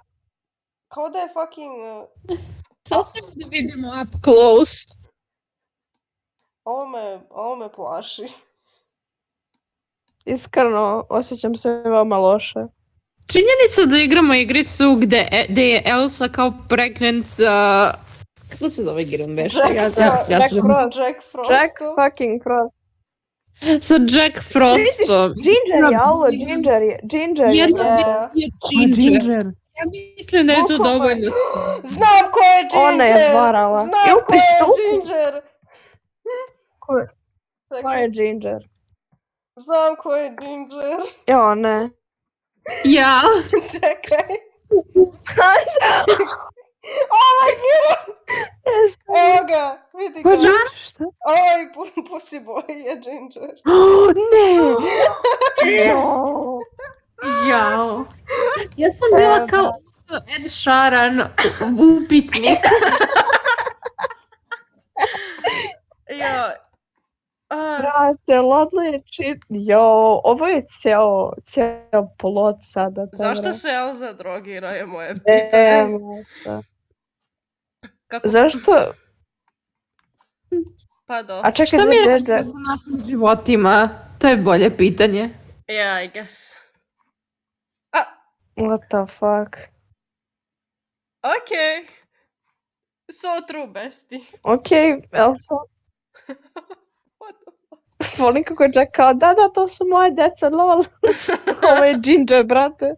[SPEAKER 2] kao da je fucking... uh,
[SPEAKER 4] Sad ćemo da vidimo up close.
[SPEAKER 2] Ovo me, ovo me plaši.
[SPEAKER 1] Iskreno, osjećam se veoma loše.
[SPEAKER 4] Činjenica da igramo igricu gde, e- gde je Elsa kao pregnant sa... Kako se zove igram veš? Ja, ja, ja,
[SPEAKER 2] Jack
[SPEAKER 4] sam-
[SPEAKER 2] Frost. Jack Frost.
[SPEAKER 1] Jack fucking cross.
[SPEAKER 4] Sa Jack Frostom.
[SPEAKER 1] Ginger je, alo, Ginger je, Ginger je.
[SPEAKER 4] Jedna
[SPEAKER 2] Yeah.
[SPEAKER 4] je
[SPEAKER 5] Ma,
[SPEAKER 4] Ginger.
[SPEAKER 5] Ginger.
[SPEAKER 8] Mislim da je to
[SPEAKER 1] Koliko je?
[SPEAKER 8] dovoljno.
[SPEAKER 2] Znam ko je Ginger!
[SPEAKER 1] Ona je varala.
[SPEAKER 2] Znam ko
[SPEAKER 1] pištolku.
[SPEAKER 2] je Ginger!
[SPEAKER 1] Ko je?
[SPEAKER 2] Čekaj,
[SPEAKER 1] Ko je Ginger?
[SPEAKER 2] Znam ko je Ginger.
[SPEAKER 1] Jo, ne.
[SPEAKER 8] Ja.
[SPEAKER 2] Čekaj. Ovo je Giron! Evo ga, vidi ga.
[SPEAKER 5] Šta?
[SPEAKER 2] Ovaj pu- pussy boy je Ginger.
[SPEAKER 5] O, ne!
[SPEAKER 1] Jo.
[SPEAKER 8] Jao. Ja sam bila kao Ed Sheeran u upitnik.
[SPEAKER 2] Ja. A,
[SPEAKER 1] Brate, ladno je čit... Jo, ovo je ceo, ceo plot sada. to,
[SPEAKER 2] zašto
[SPEAKER 1] brate.
[SPEAKER 2] se Elza drogira je moje
[SPEAKER 1] E,
[SPEAKER 2] pitanje.
[SPEAKER 1] brate.
[SPEAKER 2] Kako?
[SPEAKER 1] Zašto?
[SPEAKER 2] Pa do.
[SPEAKER 1] A čekaj,
[SPEAKER 8] Šta mi
[SPEAKER 1] za
[SPEAKER 8] radimo
[SPEAKER 1] Ginger-
[SPEAKER 8] sa našim životima? To je bolje pitanje.
[SPEAKER 2] Yeah, Ja, I guess.
[SPEAKER 1] What the fuck?
[SPEAKER 2] Okay. So true, bestie.
[SPEAKER 1] Ok, Elsa.
[SPEAKER 2] What the
[SPEAKER 1] Volim kako je Jack kao, da, da, to su moje deca, lol. Ovo je Ginger, brate.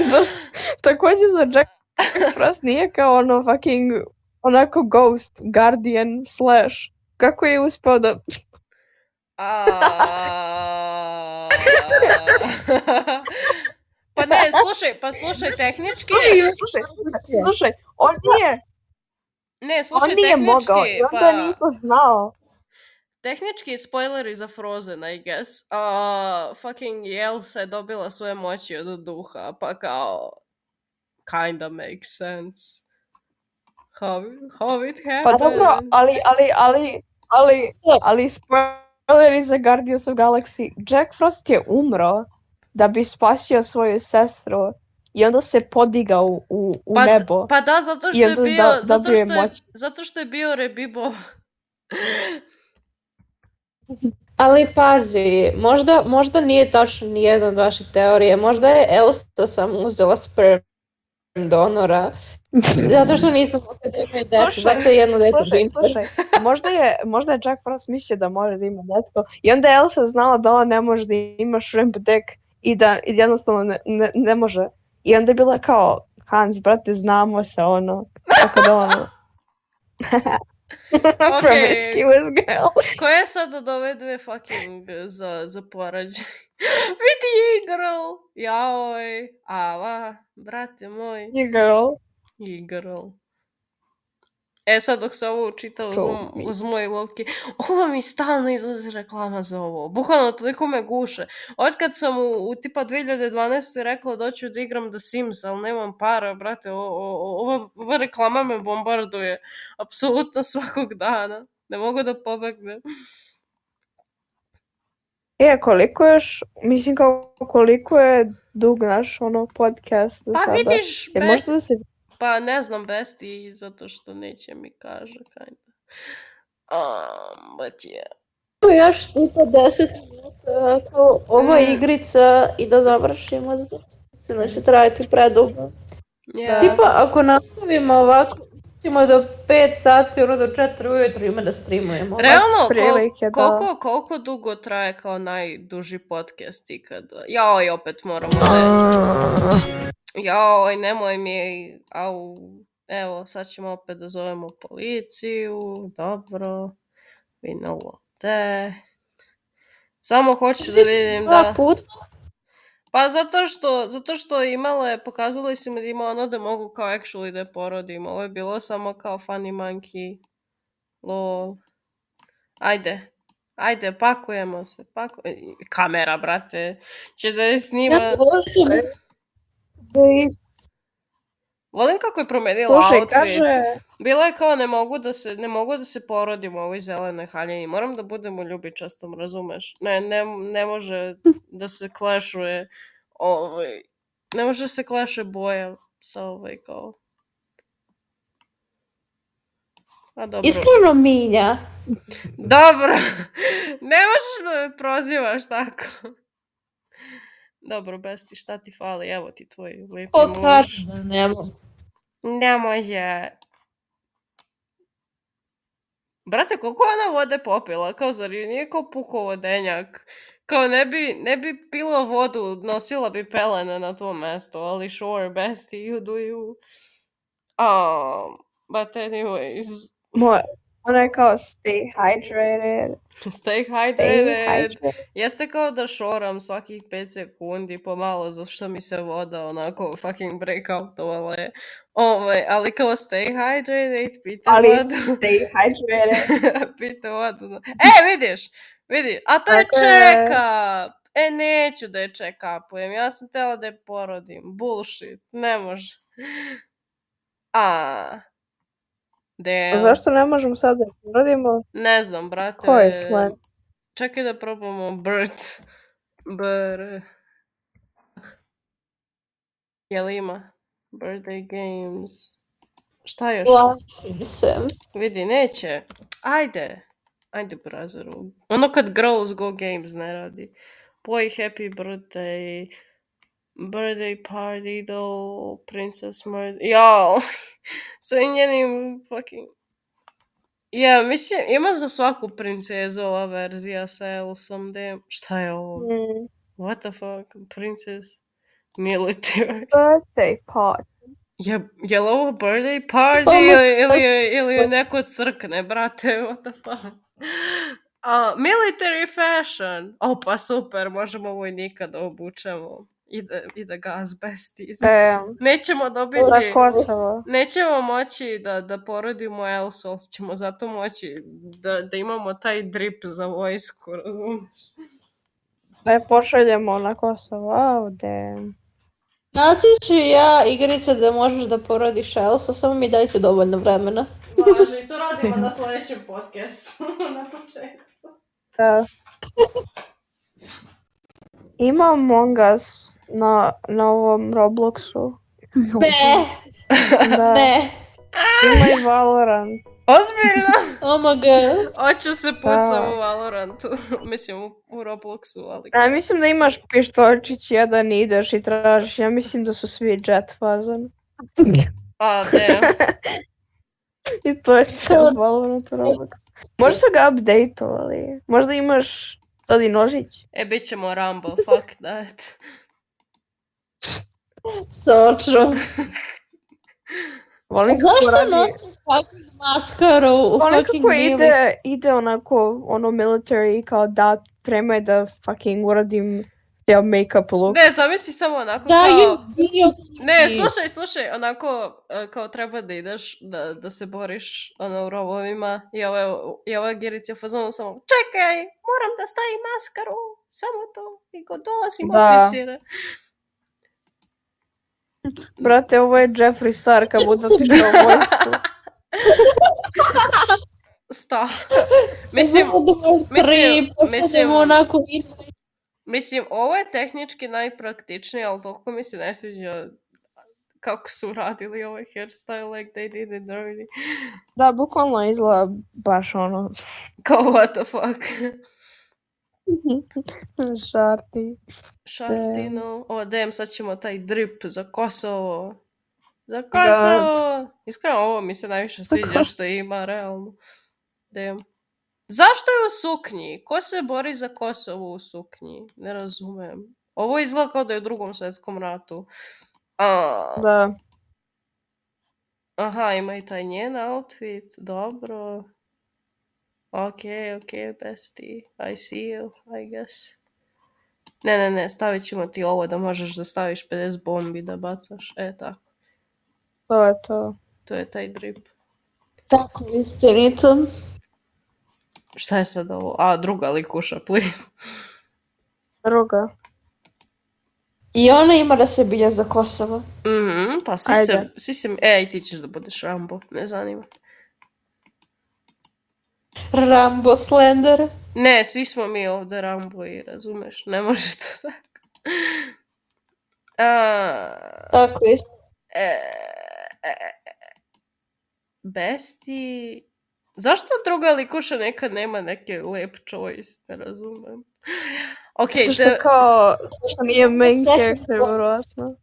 [SPEAKER 1] Za- Takođe za Jack Frost nije kao ono fucking, onako ghost, guardian, slash. Kako je uspeo da...
[SPEAKER 2] A... pa ne, slušaj, pa slušaj tehnički,
[SPEAKER 1] Slušaj, slušaj, on nije,
[SPEAKER 2] ne,
[SPEAKER 1] on
[SPEAKER 2] slušaj
[SPEAKER 1] nije mogao i
[SPEAKER 2] tehnički,
[SPEAKER 1] onda
[SPEAKER 2] pa
[SPEAKER 1] nije to znao.
[SPEAKER 2] tehnički spoileri za Frozen, I guess. Uh, fucking Elsa je dobila svoje moći od duha, pa kao kinda makes sense. How, how it happened.
[SPEAKER 1] Pa dobro, ali, ali, ali, ali, ali spoileri za Guardians of Galaxy. Jack Frost je umro da bi spasio svoju sestru i onda se podigao u, u
[SPEAKER 2] Pa d-
[SPEAKER 1] nebo.
[SPEAKER 2] Pa da, zato što
[SPEAKER 1] I
[SPEAKER 2] je
[SPEAKER 1] onda
[SPEAKER 2] bio,
[SPEAKER 1] da-
[SPEAKER 2] zato,
[SPEAKER 1] dobio je
[SPEAKER 2] što je,
[SPEAKER 1] moć.
[SPEAKER 2] zato što je bio rebibo.
[SPEAKER 4] Ali pazi, možda, možda nije tačno ni jedna od vaših teorija, možda je Elsa sam uzela sperm donora, zato što nisam mogla da imaju decu,
[SPEAKER 1] Slušaj,
[SPEAKER 4] zato je jedno dete
[SPEAKER 1] Slušaj,
[SPEAKER 4] Ginger.
[SPEAKER 1] slušaj, možda je, možda je Jack Frost mislio da može da ima detko i onda je Elsa znala da ona ne može da ima shrimp deck i da i jednostavno ne, ne, ne može. I onda je bila kao, Hans, brate, znamo se, ono, tako da ono. From
[SPEAKER 2] Okej.
[SPEAKER 1] Rescuers Girl.
[SPEAKER 2] Ko je sad od ove dve fucking eh, za, za porađaj? Vidi Eagle! Jaoj, ala, brate moj,
[SPEAKER 1] You girl.
[SPEAKER 2] Eagle. E sad dok se ovo učita uz,
[SPEAKER 1] To
[SPEAKER 2] m- uz moje lovke, ovo mi stalno izlazi reklama za ovo. Bukvalno toliko me guše. Otkad sam u, u tipa 2012. rekla da hoću da igram The Sims, ali nemam para, brate, o, o, o- ova, ova reklama me bombarduje. Apsolutno svakog dana. Ne mogu da pobegnem.
[SPEAKER 1] E, koliko još, mislim kao koliko je dug naš ono podcast do
[SPEAKER 2] Pa
[SPEAKER 1] sada?
[SPEAKER 2] vidiš,
[SPEAKER 1] Jer
[SPEAKER 2] best,
[SPEAKER 1] možda da se...
[SPEAKER 2] pa ne znam besti zato što neće mi kaže kinda. Um, but yeah.
[SPEAKER 4] Imamo još tipa 10 minuta ako ova
[SPEAKER 2] Mm.
[SPEAKER 4] igrica i da završimo, zato što se neće trajati predugo.
[SPEAKER 2] yeah.
[SPEAKER 4] Tipa, ako nastavimo ovako, ćemo do 5 sati, ono do 4 ujutru ima da streamujemo.
[SPEAKER 2] Realno, kol,
[SPEAKER 1] prilike, da.
[SPEAKER 2] koliko, koliko dugo traje kao najduži podcast ikada? Jaoj, opet moramo da...
[SPEAKER 5] A,
[SPEAKER 2] Jaoj, nemoj mi, au... Evo, sad ćemo opet da zovemo policiju, dobro, vi ne lote. Samo hoću da vidim da...
[SPEAKER 4] Dva puta,
[SPEAKER 2] Pa zato što, zato što je imala je, pokazali su mi da ima ono da mogu kao actually da je porodim. Ovo je bilo samo kao funny monkey. Lol. Ajde. Ajde, pakujemo se. Paku... I- Kamera, brate. Će da je snima.
[SPEAKER 4] ja pošto bi- bi-
[SPEAKER 2] Volim kako je promenila
[SPEAKER 1] Slušaj,
[SPEAKER 2] outfit.
[SPEAKER 1] kaže,
[SPEAKER 2] Bila je kao ne mogu da se, ne mogu da se porodim u ovoj zelenoj haljini. Moram da budem u ljubičastom, razumeš? Ne, ne, ne može da se klešuje ovaj, ne može da se kleše boja sa ovaj kao. A dobro.
[SPEAKER 4] Iskreno minja.
[SPEAKER 2] Dobro. ne možeš da me prozivaš tako. Dobro, besti, šta ti fali? Evo ti tvoj lijepi
[SPEAKER 4] Ko
[SPEAKER 2] muž.
[SPEAKER 4] kaže da ne mogu?
[SPEAKER 2] Ne može. Brate, koliko je ona vode popila? Kao, zar joj nije kao pukao vodenjak? Kao ne bi, ne bi pila vodu, nosila bi pelene na to mesto, ali sure, bestie, you do you. Um, but anyways,
[SPEAKER 1] Moj, ona je kao stay hydrated.
[SPEAKER 2] stay
[SPEAKER 1] Stay
[SPEAKER 2] hydrated.
[SPEAKER 1] hydrated.
[SPEAKER 2] Jeste kao da šoram svakih 5 sekundi pomalo, zato što mi se voda onako fucking breakoutovala je. Ovaj, ali kao stay hydrated, pita
[SPEAKER 1] Ali-
[SPEAKER 2] vodu.
[SPEAKER 1] Stay hydrated.
[SPEAKER 2] Pita vodu. da- E, vidiš, vidiš, a to je
[SPEAKER 1] Tako je.
[SPEAKER 2] čeka. E, neću da je čekapujem, ja sam tela da je porodim. Bullshit, ne može. A,
[SPEAKER 1] A
[SPEAKER 2] damn.
[SPEAKER 1] Pa Zašto ne možemo sad da porodimo?
[SPEAKER 2] Ne znam, brate.
[SPEAKER 1] Ko je slang?
[SPEAKER 2] Čekaj da probamo bird. Br... Jel ima? Birthday games. Šta još?
[SPEAKER 4] Plašim se.
[SPEAKER 2] Vidi, neće. Ajde. Ajde, brazeru. Ono kad Girls Go Games ne radi. Boy Happy Birthday. Birthday Party do Princess Murder. Jao. Sa njenim fucking... Ja, mislim, ima za svaku princezu ova verzija sa Elsom. Dem. Šta je ovo?
[SPEAKER 1] Mm,
[SPEAKER 2] What the fuck? Princess Military.
[SPEAKER 1] birthday party.
[SPEAKER 2] Je, je li ovo birthday party
[SPEAKER 4] Ovo-
[SPEAKER 2] ili, ili, je- ili je neko crkne, brate, what the fuck? A, military fashion. O, pa super, možemo vojnika da obučemo i da, i da ga azbestis.
[SPEAKER 1] E,
[SPEAKER 2] Nećemo dobiti...
[SPEAKER 1] Znaš Kosovo.
[SPEAKER 2] Nećemo moći da, da porodimo Elsu, ali ćemo zato moći da, da imamo taj drip za vojsku, razumiješ?
[SPEAKER 1] Ne E, pošaljemo na Kosovo. Oh, damn.
[SPEAKER 4] Naći ću ja igrice da možeš da porodiš Elsa, samo mi dajte dovoljno vremena.
[SPEAKER 2] Može, i to radimo na sljedećem podcastu, na početku.
[SPEAKER 1] Da. Ima Among Us na, na ovom Robloxu.
[SPEAKER 4] Ne,
[SPEAKER 1] Da,
[SPEAKER 4] ne,
[SPEAKER 1] ima i Valorant.
[SPEAKER 2] Ozbiljno!
[SPEAKER 4] oh my god.
[SPEAKER 2] Oću se pucam
[SPEAKER 1] Da.
[SPEAKER 2] u Valorantu. Mislim, u, u Robloxu, ali...
[SPEAKER 1] Ja mislim da imaš pištoljčić jedan i ideš i tražiš. Ja mislim da su svi jet fazan.
[SPEAKER 2] A, ne.
[SPEAKER 1] I to je to Valorant u Robloxu. Možda su ga updateovali. Možda imaš sad i nožić.
[SPEAKER 2] E, bit ćemo Rambo, fuck that.
[SPEAKER 4] Sočo.
[SPEAKER 1] Volim kako
[SPEAKER 4] Pa Zašto
[SPEAKER 1] radi-
[SPEAKER 4] nosim fucking maskaru u
[SPEAKER 1] Ono
[SPEAKER 4] fucking
[SPEAKER 1] kako
[SPEAKER 4] milu?
[SPEAKER 1] ide, ide onako, ono military kao da, prema je da fucking uradim ja make-up look.
[SPEAKER 2] Ne, zamisli samo onako
[SPEAKER 4] Da,
[SPEAKER 2] kao...
[SPEAKER 4] ju bio.
[SPEAKER 2] Ne, slušaj, slušaj, onako e, kao treba da ideš, da, da se boriš ono, u rovovima i ova, i ova Girić je u fazonu samo čekaj, moram da stavim maskaru, samo to, i go dolazim
[SPEAKER 1] Da.
[SPEAKER 2] oficire.
[SPEAKER 1] Brate, ovo je Jeffrey Star kad bude otišao u vojsku.
[SPEAKER 2] Sta. Mislim,
[SPEAKER 4] Tri,
[SPEAKER 2] mislim- mislim-
[SPEAKER 4] mislim, onako idemo
[SPEAKER 2] Mislim, ovo je tehnički najpraktičnije, ali toliko mi se ne sviđa kako su radili ovaj hairstyle like they did it dirty.
[SPEAKER 1] Da, bukvalno izgleda baš ono,
[SPEAKER 2] Kao what the fuck.
[SPEAKER 1] žarti.
[SPEAKER 2] Šartino. O, damn, sad ćemo taj drip za Kosovo. Za Kosovo! Iskreno, ovo mi se najviše sviđa što ima, realno. Damn. Zašto je u suknji? Ko se bori za Kosovo u suknji? Ne razumem. Ovo izgleda kao da je u drugom svjetskom ratu. A,
[SPEAKER 1] Da,
[SPEAKER 2] Aha, ima i taj njen outfit, dobro. Ok, ok, bestie, I see you, I guess. Ne, ne, ne, stavit ćemo ti ovo da možeš da staviš 50 bombi da bacaš, e tako,
[SPEAKER 1] to je to.
[SPEAKER 2] to je taj drip.
[SPEAKER 4] tako istinito.
[SPEAKER 2] Šta je sad ovo? A, druga likuša, please.
[SPEAKER 1] Druga.
[SPEAKER 4] I ona ima da se bilja za Kosovo.
[SPEAKER 2] Mhm, pa si
[SPEAKER 1] Ajde.
[SPEAKER 2] se, si se, e, i ti ćeš da budeš Rambo, ne zanima.
[SPEAKER 4] Rambo Slender.
[SPEAKER 2] Ne, svi smo mi ovdje Rambo i razumeš, ne može to tako. A,
[SPEAKER 4] Tako istinito.
[SPEAKER 2] E, besti... Zašto druga likuša nekad nema neke lep choice, ne razumem. Ok,
[SPEAKER 1] Zato što
[SPEAKER 2] da-
[SPEAKER 1] kao nije main character, ono. vjerojatno.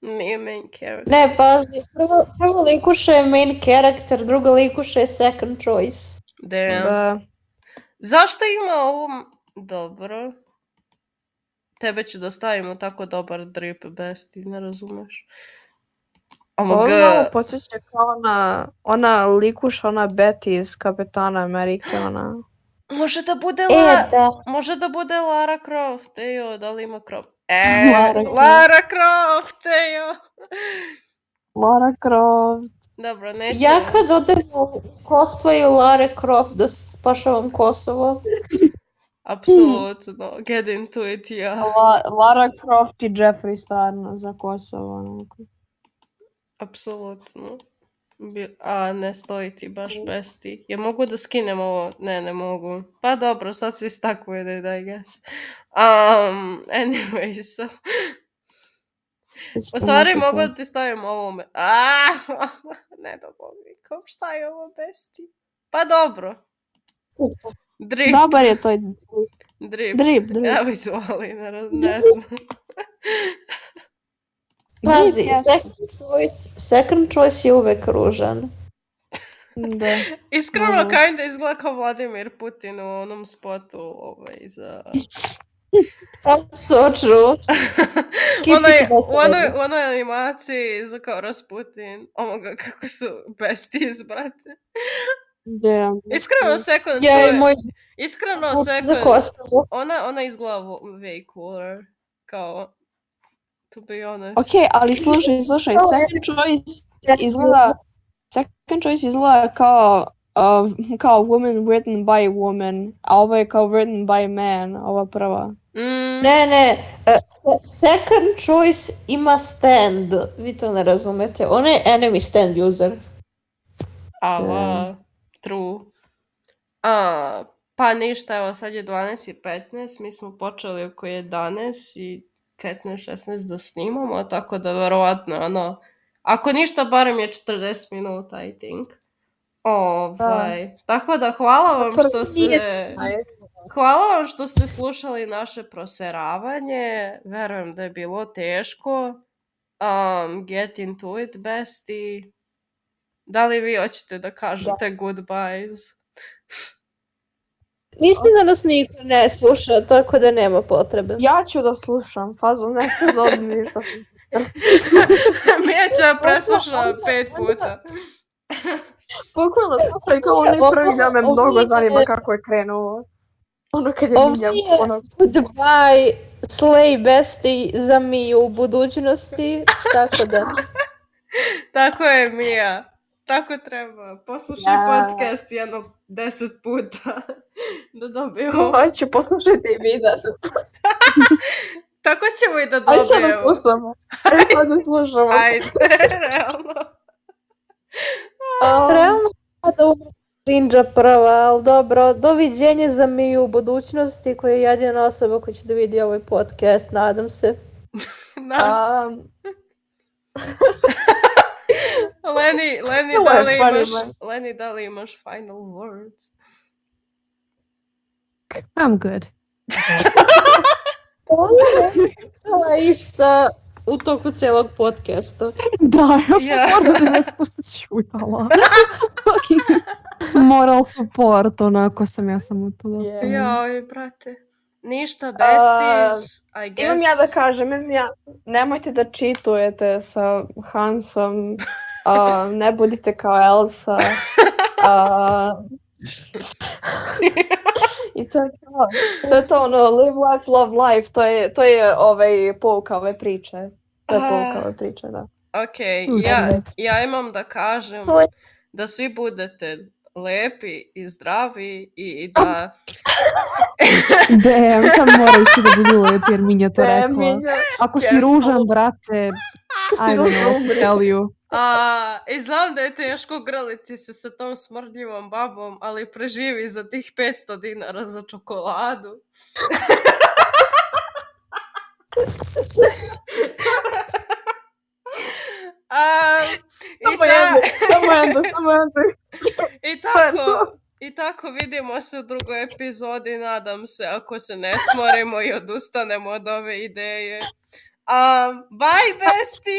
[SPEAKER 2] nije main character.
[SPEAKER 4] Ne, pazi, prvo, prvo likuša je main character, drugo likuša je second choice.
[SPEAKER 2] Damn.
[SPEAKER 1] Da.
[SPEAKER 2] Zašto ima ovo... Dobro. tebe ću da stavimo tako dobar drip, besti, ne razumeš. Oh
[SPEAKER 1] Ovo
[SPEAKER 2] Amog,
[SPEAKER 1] me malo podsjeća kao ona, ona likuša, ona Betty iz Kapetana Amerike, ona.
[SPEAKER 2] može da bude
[SPEAKER 4] E,
[SPEAKER 2] la...
[SPEAKER 4] da.
[SPEAKER 2] Može da bude Lara Croft, ejo, da li ima Croft? E,
[SPEAKER 1] Lara
[SPEAKER 2] Lara,
[SPEAKER 1] Croft.
[SPEAKER 2] Croft, ejo.
[SPEAKER 1] Lara Croft.
[SPEAKER 2] Dobro, neću.
[SPEAKER 4] Ja kad odem u cosplayu Lara Croft da spašavam Kosovo.
[SPEAKER 2] Apsolutno, get into it, ja.
[SPEAKER 1] La, Lara Croft i Jeffree Star na- za Kosovo. ono, onako.
[SPEAKER 2] Apsolutno. Bi- A, ne stoji ti baš
[SPEAKER 1] Mm.
[SPEAKER 2] besti. Ja mogu da skinem ovo? Ne, ne mogu. Pa dobro, sad se istakuje da I guess. Um, anyways, so- u stvari mogu da ti stavim ovo. Me... A, ne da Kom šta je ovo besti? Pa dobro. Drip,
[SPEAKER 1] Dobar je to
[SPEAKER 2] drip.
[SPEAKER 1] drip, drip.
[SPEAKER 2] Ja bi zvali, ne, raz- ne znam.
[SPEAKER 4] Pazi,
[SPEAKER 1] Drip, ja.
[SPEAKER 4] second choice, second choice je uvek ružan.
[SPEAKER 1] Da.
[SPEAKER 2] Iskreno,
[SPEAKER 1] Dobro.
[SPEAKER 2] kinda izgleda kao Vladimir Putin u onom spotu ovaj, za...
[SPEAKER 4] That's so true. Keep
[SPEAKER 2] Ono je,
[SPEAKER 4] it that
[SPEAKER 2] u, onoj,
[SPEAKER 4] way.
[SPEAKER 2] u onoj animaciji za kao Rasputin, omoga kako su besties, brate.
[SPEAKER 1] Damn.
[SPEAKER 2] Iskreno, second
[SPEAKER 4] Ja i
[SPEAKER 2] choice-
[SPEAKER 4] Mm. moj
[SPEAKER 2] Iskreno,
[SPEAKER 4] put za
[SPEAKER 2] second,
[SPEAKER 4] Kosovo.
[SPEAKER 2] ona, ona izgleda vo- way cooler, kao, to be honest.
[SPEAKER 1] Ok, ali slušaj, slušaj,
[SPEAKER 4] Kao
[SPEAKER 1] second
[SPEAKER 4] Alex-
[SPEAKER 1] choice izgleda, second choice izgleda kao, uh, kao woman written by woman, a ovo je kao written by man, ova prva.
[SPEAKER 2] Mm,
[SPEAKER 4] Ne, ne, e, se- second choice ima stand, vi to ne razumete, on je enemy stand user.
[SPEAKER 2] Ala, true. A, pa ništa, evo sad je 12 i 15, mi smo počeli oko 11 i 15-16 da snimamo, tako da verovatno, ono, ako ništa, barem je 40 minuta, I think. Ovaj, tako da hvala vam što ste... Hvala vam što ste slušali naše proseravanje. Verujem da je bilo teško. Um, get into it, besti. Da li vi hoćete da kažete goodbyes?
[SPEAKER 4] Mislim da nas niko ne sluša, tako da nema potrebe.
[SPEAKER 1] Ja ću da slušam, fazu, ne se dobro ništa.
[SPEAKER 2] Mija će ja preslušala pet puta.
[SPEAKER 1] Bukvalno slušaj kao onaj
[SPEAKER 4] Ovo-
[SPEAKER 1] prvi da me
[SPEAKER 4] ovo
[SPEAKER 1] mnogo
[SPEAKER 4] je-
[SPEAKER 1] zanima kako je krenuo. Ono kad je
[SPEAKER 4] Ovo
[SPEAKER 1] Miljam,
[SPEAKER 4] je-
[SPEAKER 1] ono,
[SPEAKER 4] Goodbye, slay besti za mi u budućnosti, tako da.
[SPEAKER 2] Tako je, Mija. Tako treba. Poslušaj
[SPEAKER 1] Da.
[SPEAKER 2] podcast jedno deset puta da dobijemo.
[SPEAKER 1] hoću poslušati i vi da se...
[SPEAKER 2] Tako ćemo i da
[SPEAKER 1] Ajde sad da
[SPEAKER 2] dobijemo.
[SPEAKER 1] slušamo. Ajde sad da slušamo.
[SPEAKER 2] Ajde, realno.
[SPEAKER 1] A,
[SPEAKER 4] Realno da umre Rinđa prva, ali dobro, doviđenje za mi u budućnosti koja je jedina osoba koja će da vidi ovaj podcast, nadam se.
[SPEAKER 2] Na,
[SPEAKER 1] a,
[SPEAKER 2] Leni, Leni,
[SPEAKER 1] Ovo je
[SPEAKER 2] da li
[SPEAKER 1] funny,
[SPEAKER 2] imaš,
[SPEAKER 1] man.
[SPEAKER 2] Leni, da li imaš final words?
[SPEAKER 5] I'm good.
[SPEAKER 4] Hvala išta u toku celog podcasta.
[SPEAKER 5] Da,
[SPEAKER 2] Ja.
[SPEAKER 5] ja moram da ne poslušala. Fucking Moral support, onako sam, ja sam u to. da-
[SPEAKER 1] je.
[SPEAKER 2] Joj, brate. Ništa, besties, I guess.
[SPEAKER 1] Imam ja da kažem, imam ja, nemojte da čitujete sa Hansom, a, ne budite kao Elsa. a, I to je to. To je to ono, ну, live life, love life, to je, to je ovaj, pouka ove priče. To je pouka ove priče, da.
[SPEAKER 2] Ok, ja, ja imam da kažem
[SPEAKER 4] Tvoj-
[SPEAKER 2] da svi budete lepi i zdravi i da...
[SPEAKER 5] Damn, sad moraju svi da budu lepi jer Minja to rekla. Ako si
[SPEAKER 1] careful.
[SPEAKER 5] ružan, brate, I don't
[SPEAKER 1] ružan,
[SPEAKER 5] know,
[SPEAKER 1] umri.
[SPEAKER 5] tell you.
[SPEAKER 2] A, I znam da je teško grliti se sa tom smrdljivom babom, ali preživi za tih 500 dinara za čokoladu. A, i,
[SPEAKER 1] Samo
[SPEAKER 2] ta-
[SPEAKER 1] jedno, samo jedno, samo jedno.
[SPEAKER 2] i
[SPEAKER 1] je
[SPEAKER 2] tako, i tako vidimo se u drugoj epizodi, nadam se, ako se ne smorimo i odustanemo od ove ideje. A, bye, besti!